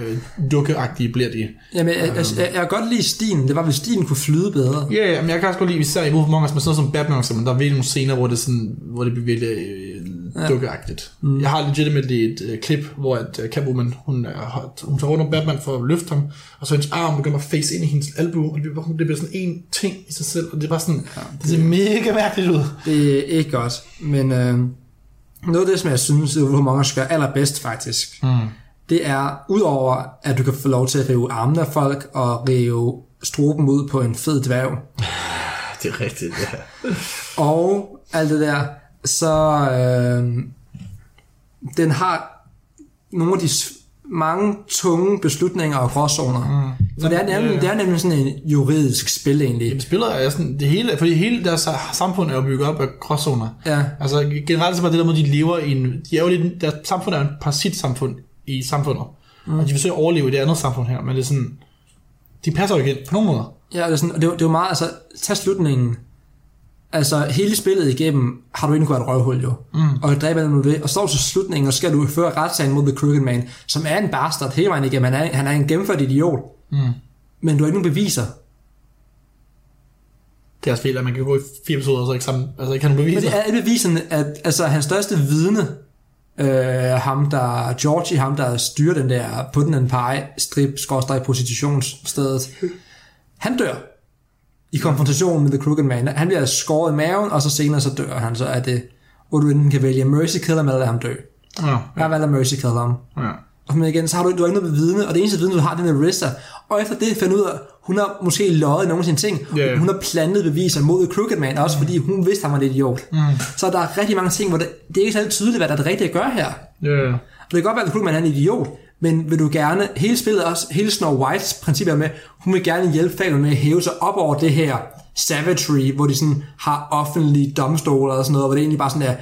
øh, dukkeagtige bliver de.
Jamen, jeg, jeg, jeg, jeg kan godt lide stilen. Det var, hvis stilen kunne flyde bedre.
Ja, yeah, men jeg kan også godt lide, især i Wolf Among Us, men sådan noget som Batman, for eksempel, der er virkelig nogle scener, hvor det, sådan, hvor det bliver virkelig øh, dukkeagtigt. Mm. Jeg har legitimately et øh, klip, hvor at, øh, Catwoman, hun, øh, har- hun tager rundt om Batman for at løfte ham, og så hendes arm begynder at face ind i hendes albu, og det bliver, det bliver sådan en ting i sig selv, og det er bare sådan, ja, det, det ser mega mærkeligt ud.
Det er ikke godt, men øh, noget af det, som jeg synes, at Wolf Among Us gør allerbedst faktisk, mm. det er, udover at du kan få lov til at rive armene af folk og rive struben ud på en fed dværg,
Det er rigtigt, ja.
og alt det der, så øh, den har nogle af de s- mange tunge beslutninger og gråzoner. Mm. For det er, nemlig, det er nemlig sådan en juridisk spil egentlig.
Jamen, spillere er sådan, det hele, fordi hele deres samfund er jo bygget op af gråzoner.
Ja.
Altså generelt så bare det der måde, de lever i en... De er jo lidt, deres samfund er jo en parasitsamfund i samfundet. Mm. Og de forsøger at overleve i det andet samfund her, men det er sådan... De passer jo ikke ind på nogen måder.
Ja, og det er, sådan, og det, er jo- det er jo meget, altså, tag slutningen. Altså, hele spillet igennem har du egentlig kunnet være et røvhul, jo. Mm. Og dræbe dem nu det. Og står til slutningen, og skal du føre retssagen mod The Crooked Man, som er en bastard hele vejen igennem. Han er, han er en gennemført idiot. Mm. Men du har ikke nogen beviser.
Det er også fedt, at man kan gå i fire episoder, og så ikke, sammen, altså ikke have nogen
Men
beviser.
det er alle beviserne, at altså, hans største vidne, øh, ham der, Georgie, ham der styrer den der på den anden pege, strip, skorstræk, prostitutionsstedet, han dør i konfrontationen med The Crooked Man. Han bliver skåret i maven, og så senere så dør han så af det, hvor du enten kan vælge Mercy Kill ham, eller lade ham dø.
Ja,
Jeg valgte Mercy Kill ham.
ja.
Og men igen, så har du, du har ikke noget ved vidne, og det eneste vidne, du har, det er den Arista. Og efter det finder du ud af, hun har måske løjet i nogle af sine ting.
Ja, Mm. ja.
Hun har plantet beviser mod The Crooked Man, også fordi hun vidste, han var en idiot. Mm. Så der er rigtig mange ting, hvor det, det er ikke særlig tydeligt, hvad der er det rigtige at gøre her.
ja.
Og det kan godt være, at The Crooked Man er en idiot, men vil du gerne, hele spillet også, hele Snow Whites princip er med, hun vil gerne hjælpe Falcon med at hæve sig op over det her savagery, hvor de sådan har offentlige domstole og sådan noget, hvor det egentlig bare sådan er,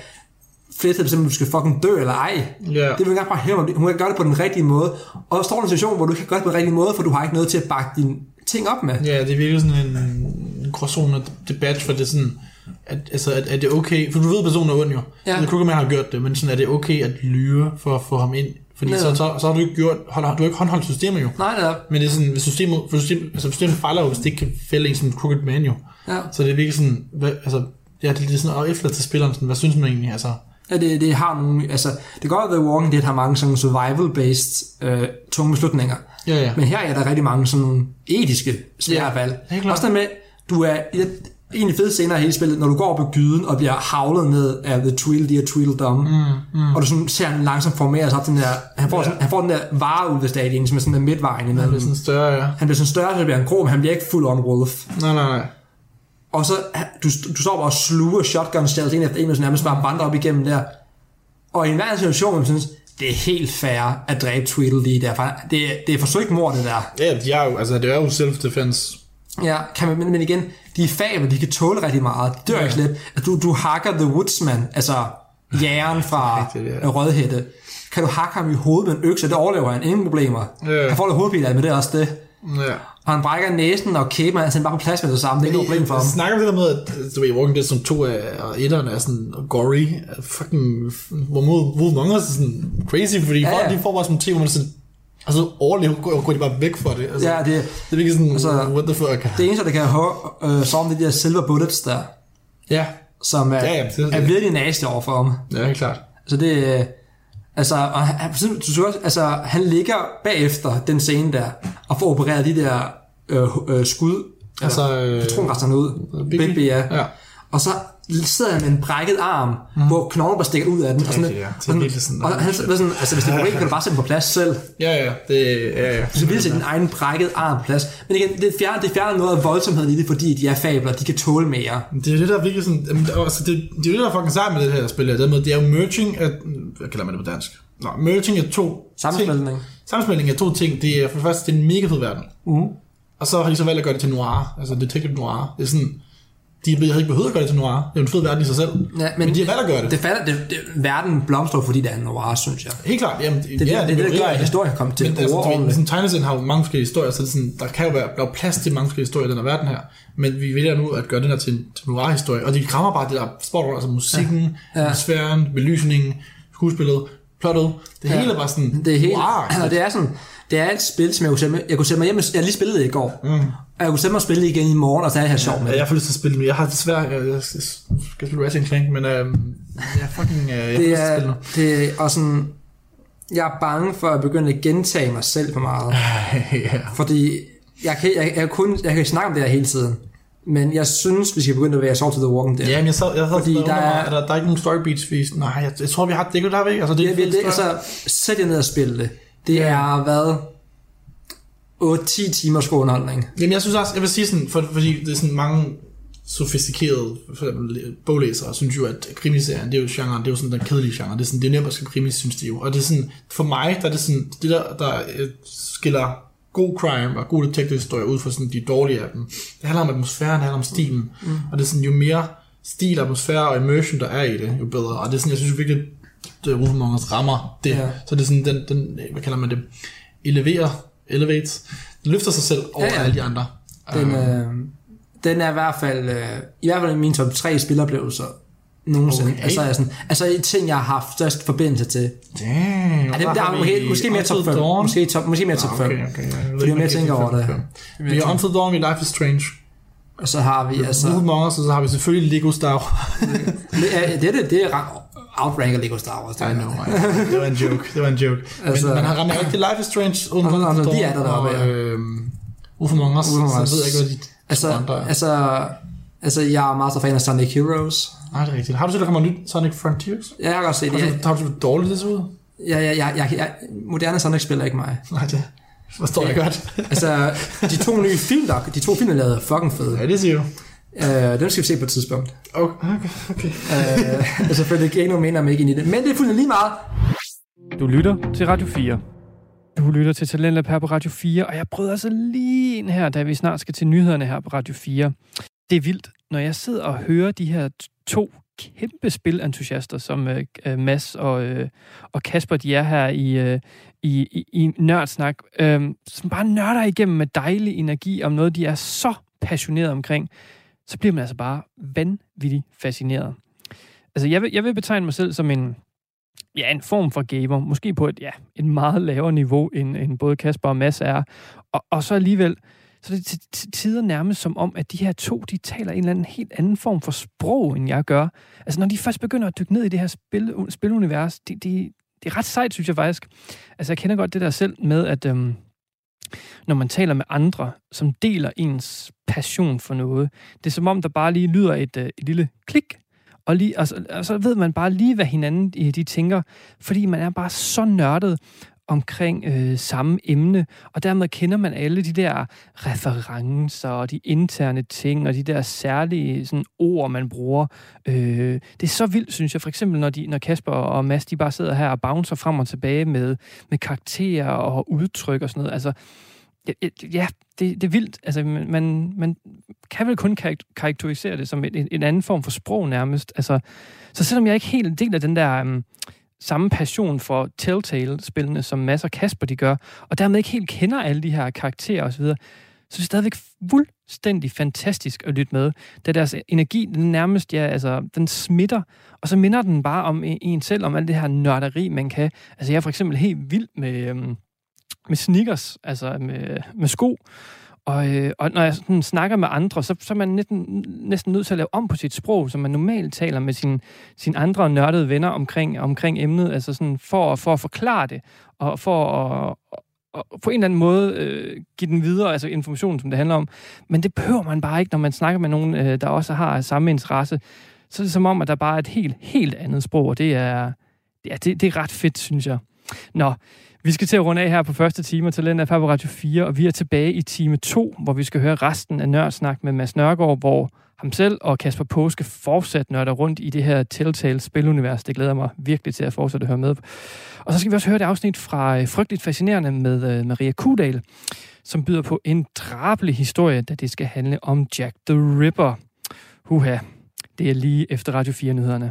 flertal simpelthen, du skal fucking dø eller ej.
Ja.
Det vil jeg gerne bare hæve, hun kan gøre det på den rigtige måde. Og der står i en situation, hvor du kan gøre det på den rigtige måde, for du har ikke noget til at bakke dine ting op med.
Ja, det er virkelig sådan en, en gråzone debat, for det er sådan, at, altså, at, er det okay, for du ved, at personen er ond jo,
Ja.
ja. så Krugman har gjort det, men sådan, er det okay at lyve for at få ham ind? Fordi
Ja.
ja. så, så, så, har du ikke gjort, holder, du har ikke håndholdt systemet jo.
Nej, nej,
Men det er sådan, hvis systemet, for systemet, altså systemet fejler jo, hvis det ikke kan fælde en som crooked man jo.
Ja.
Så det er virkelig sådan, hvad, altså, ja, det er lidt sådan, og efter til spilleren, sådan, hvad synes man egentlig, altså?
Ja, det, det har nogle, altså, det kan godt være, at The Walking Dead har mange sådan survival-based øh, tunge beslutninger.
Ja, ja.
Men her er der rigtig mange sådan nogle etiske svære
Ja,
valg.
det er klart.
Også der med, du er i det- en af de fede scener i hele spillet, når du går op ad gyden og bliver havlet ned af The Tweedledee og Tweedledum, mm, mm. og du sådan ser han langsomt formere sig op til den der, han får, ja. sådan, han får den der vareulvestadien, som er sådan der midtvejen imellem.
Det er sådan større, ja.
Han bliver sådan større, så bliver han grå, men han bliver ikke full on wolf.
Nej, nej, nej.
Og så, du, du står bare og sluger shotgun shells en efter en, og så nærmest bare vandrer op igennem der. Og i enhver situation, hvor man synes, det er helt fair at dræbe Tweedledee der. For det, er- det er forsøgt mord, det der.
Ja, de er jo, altså, det er jo self-defense.
Ja, kan man, men, men igen, de er fabler, de kan tåle rigtig meget. De dør ja. ikke slet. At du, du hakker The Woodsman, altså jægeren fra
Det er rigtigt,
ja. Rødhætte. Kan du hakke ham i hovedet med en økse, det overlever han. Ingen problemer.
Ja.
Han får lidt hovedpine af, det, men det er også det.
Ja.
Og han brækker næsen og kæben, og han er sendt bare på plads med det samme. Det er ikke noget problem for ham.
Snakker om det der med, at du ved, Walking Dead som to af og etteren er sådan gory, er fucking, hvor mod Wolf Among Us er sådan crazy, fordi
Ja,
ja,
ja.
ja. folk de får bare sådan ting, hvor man sådan, altså overlever, går, går de bare væk fra det. Altså,
Ja, det,
det er virkelig sådan,
Altså,
altså, what the fuck.
det eneste, der kan have øh, så om det der silver bullets der,
ja,
som er,
Ja, ja, det er det.
er virkelig nasty over for ham.
ja, helt klart.
Så det, øh, Altså, og han, han- du så også, altså, han ligger bagefter den scene der, og får opereret de der øh, øh, skud,
Altså,
øh,
øh,
patronresterne ud,
Bigby?
Bigby, ja.
Ja.
Og så sidder han med en brækket arm, mm. hvor knoglen bare stikker ud af den. og sådan,
rigtigt, ja. Det er
og,
virkelig
sådan,
sådan,
og han var sådan, altså hvis det er et problem, kan du bare sætte den på plads selv.
Ja, ja, det, ja, ja.
Så vil sætte din egen brækket arm på plads. Men igen, det fjerner, det fjerner noget af voldsomheden i det, fordi de er fabler, de kan tåle mere.
Det er det, der er virkelig sådan... Jamen, altså, det, det er jo det, der er fucking sejt med det her spil. her. Den måde, det er jo merging af... Hvad kalder man det på dansk? Nå, merging af to
Sammensmeltning.
Ting. Sammensmeltning af to ting. Det er for det første, det er en mega fed verden. Mm. Og så har de så valgt at gøre det til noir. Altså detective noir. Det er sådan... De havde ikke behøvet at gøre det til noir. Det er jo en fed verden i sig selv.
Ja,
men, men de har valgt at gøre det.
det, falder, det, det verden blomstrer, fordi det er en noir, synes jeg.
Helt klart, jamen, det,
det-
ja,
det er det, der
jo
gør,
rigtigt.
at historien kommer til
Men altså,
overordnet.
du ved, sådan, tegneserien har jo mange forskellige historier, så det er sådan, der kan jo være der er jo plads til mange forskellige historier i den her verden her. Men vi vælger nu at gøre den her til en til en noir-historie, og de krammer bare det der sport over, altså musikken, ja. atmosfæren, belysningen, skuespillet, plottet. Det
Ja.
hele er bare sådan,
Det er helt, wow.
Wow.
og det er sådan, det er et spil, som jeg kunne sætte mig, jeg kunne sætte mig hjem, og- jeg har lige spillede det i går, mm. og jeg kunne sætte mig og spille det igen i morgen, og så er jeg her sjov med
Ja,
det.
jeg får lyst til at spille men Jeg har desværre... Jeg, jeg skal skal spille Ratchet Clank, men øh, jeg er fucking... Øh, jeg har lyst til
Det
at spille
er,
nu.
det er og sådan, jeg er bange for at begynde at gentage mig selv for meget,
ja.
fordi jeg kan, jeg, jeg, kun, jeg kan snakke om det her hele tiden, men jeg synes, vi skal begynde at være Salt to the Walking Dead.
Ja, men jeg sad, jeg sad
Fordi
Fordi der,
der er-
er... Mig, at der, der er ikke nogen story beats, vi... Nej, jeg, jeg, tror, vi har... Det der, vi ikke? Altså, det, er
Ja,
en
vi
fed
det,
historie.
altså, sæt jer ned og spil det. Det er, hvad, 8-10 timers god underholdning.
Jamen jeg synes også, jeg vil sige sådan, for, fordi det er sådan mange sofistikerede for eksempel, boglæsere, synes jo, at krimiserien, det er jo genren, det er jo sådan den kedelige genre, det er, sådan, det er nemt at skrive krimi, synes de jo. Og det er sådan, for mig, der er det sådan, det der, der øh, skiller god crime og god detective historie ud fra sådan de dårlige af dem. Det handler om atmosfæren, det handler om stilen, mm. og det er sådan, jo mere stil, atmosfære og immersion, der er i det, jo bedre. Og det er sådan, jeg synes virkelig, det er Rufemongers rammer det.
Ja.
Ja. Så det er sådan, den, den, hvad kalder man det, eleverer, elevates, den løfter sig selv over
Ja,
ja,
ja.
ja. alle de andre.
Den, øh, den er i hvert fald, øh, i hvert fald i min top 3 spiloplevelser nogensinde. Okay.
Okay.
Altså, jeg er sådan, altså i ting, jeg har haft størst forbindelse til.
Damn,
Ja, dem, der er måske, måske mere top 5. Måske, top, måske mere top 5.
Okay, okay. Jeg ved
Fordi
ikke,
jeg
om
tænker
er
over det.
top fem. Vi har Until Dawn, vi er Life is Strange.
Og så har vi, altså...
Så. Among Us, og så har vi selvfølgelig Lego Star Wars.
Det, er, det, det, det er ra- outranker Lego Star Wars. Det er det.
det var en joke, det var en joke.
Altså-
Men man har ramt jo ikke til Life is Strange Ähm, uden
Altså, altså, de er der
og,
deroppe, ja.
øhm, Wolf Among Us,
Wolf Among Us.
så ved jeg ikke, hvad de
Altså,
andre er.
altså, altså, jeg er meget så fan af Sonic Heroes.
Nej, det er rigtigt. Har du set, der kommer nyt Sonic Frontiers?
Ja, jeg har godt set
Har
det.
du,
Jeg,
har du set, hvor dårligt det ser ud?
jeg, jeg, jeg, jeg, jeg, moderne Sonic spiller ikke mig.
Nej, det forstår jeg godt.
Altså, de to nye film, der, de to film, der lavede, er fucking fede.
Ja, det siger jo.
Øh, dem skal vi se på et tidspunkt.
Okay, okay, okay.
Øh, altså, for det giver ikke nogen mening om ikke ind i det. Men det er fuldstændig lige meget.
Du lytter til Radio 4. Du lytter til Talentlab her på Radio 4, og jeg prøvede altså lige ind her, da vi snart skal til nyhederne her på Radio 4. Det er vildt, når jeg sidder og hører de her t- to kæmpe spilentusiaster, som øh, øh, Mads og, øh, og Kasper, de er her i, øh, i, i, i Nørdsnak, øh, som bare nørder igennem med dejlig energi om noget, de er så passionerede omkring, så bliver man altså bare vanvittigt fascineret. Altså, jeg vil, jeg vil betegne mig selv som en ja, en form for gamer, måske på et, ja, et meget lavere niveau, end, end både Kasper og Mads er. Og, og så alligevel, så er det til, til tider nærmest som om, at de her to, de taler en eller anden helt anden form for sprog, end jeg gør. Altså, når de først begynder at dykke ned i det her spil, spilunivers, det, det, det er ret sejt, synes jeg faktisk. Altså, jeg kender godt det der selv med, at øhm, når man taler med andre, som deler ens passion for noget, det er som om, der bare lige lyder et, øh, et lille klik, og, lige, og, så, og så ved man bare lige, hvad hinanden øh, de tænker, fordi man er bare så nørdet omkring øh, samme emne, og dermed kender man alle de der referencer og de interne ting og de der særlige sådan, ord, man bruger. Øh, det er så vildt, synes jeg, for eksempel når, de, når Kasper og Mads, de bare sidder her og bouncer frem og tilbage med, med karakterer og udtryk og sådan noget. Altså, ja, ja det, det er vildt. Altså, man, man- man kan vel kun karak- karakterisere det som en, en- en anden form for sprog nærmest. Altså, så selvom jeg ikke helt deler den der um, samme passion for Telltale-spillene, som Mads og Kasper de gør, og dermed ikke helt kender alle de her karakterer osv., så er det stadigvæk fuldstændig fantastisk at lytte med, da deres energi den nærmest, ja, altså, den smitter, og så minder den bare om en- en selv, om alt det her nørderi, man kan. Altså, jeg er for eksempel helt vild med... øhm, med sneakers, altså med, med sko. Og, øh, og når jeg sådan snakker med andre, så, så er man næsten, næsten nødt til at lave om på sit sprog, som man normalt taler med sine sin andre nørdede venner omkring, omkring emnet, altså sådan for, at- for at forklare det, og for at og på en eller anden måde øh, give den videre, altså informationen, som det handler om. Men det behøver man bare ikke, når man snakker med nogen, øh, der også har samme interesse. Så er det som om, at der bare er et helt, helt andet sprog, og det er, ja, det, det er ret fedt, synes jeg. Nå, vi skal til at runde af her på første time af Talent af på Radio 4, og vi er tilbage i time 2, hvor vi skal høre resten af Nørdsnak med Mads Nørgaard, hvor ham selv og Kasper Påske fortsat nørder rundt i det her Telltale-spilunivers. Det glæder jeg mig virkelig til at fortsætte at høre med. Og så skal vi også høre det afsnit fra øh, Frygteligt Fascinerende med øh, Maria Kudal, som byder på en drabelig historie, da det skal handle om Jack the Ripper. Huha, det er lige efter Radio 4-nyhederne.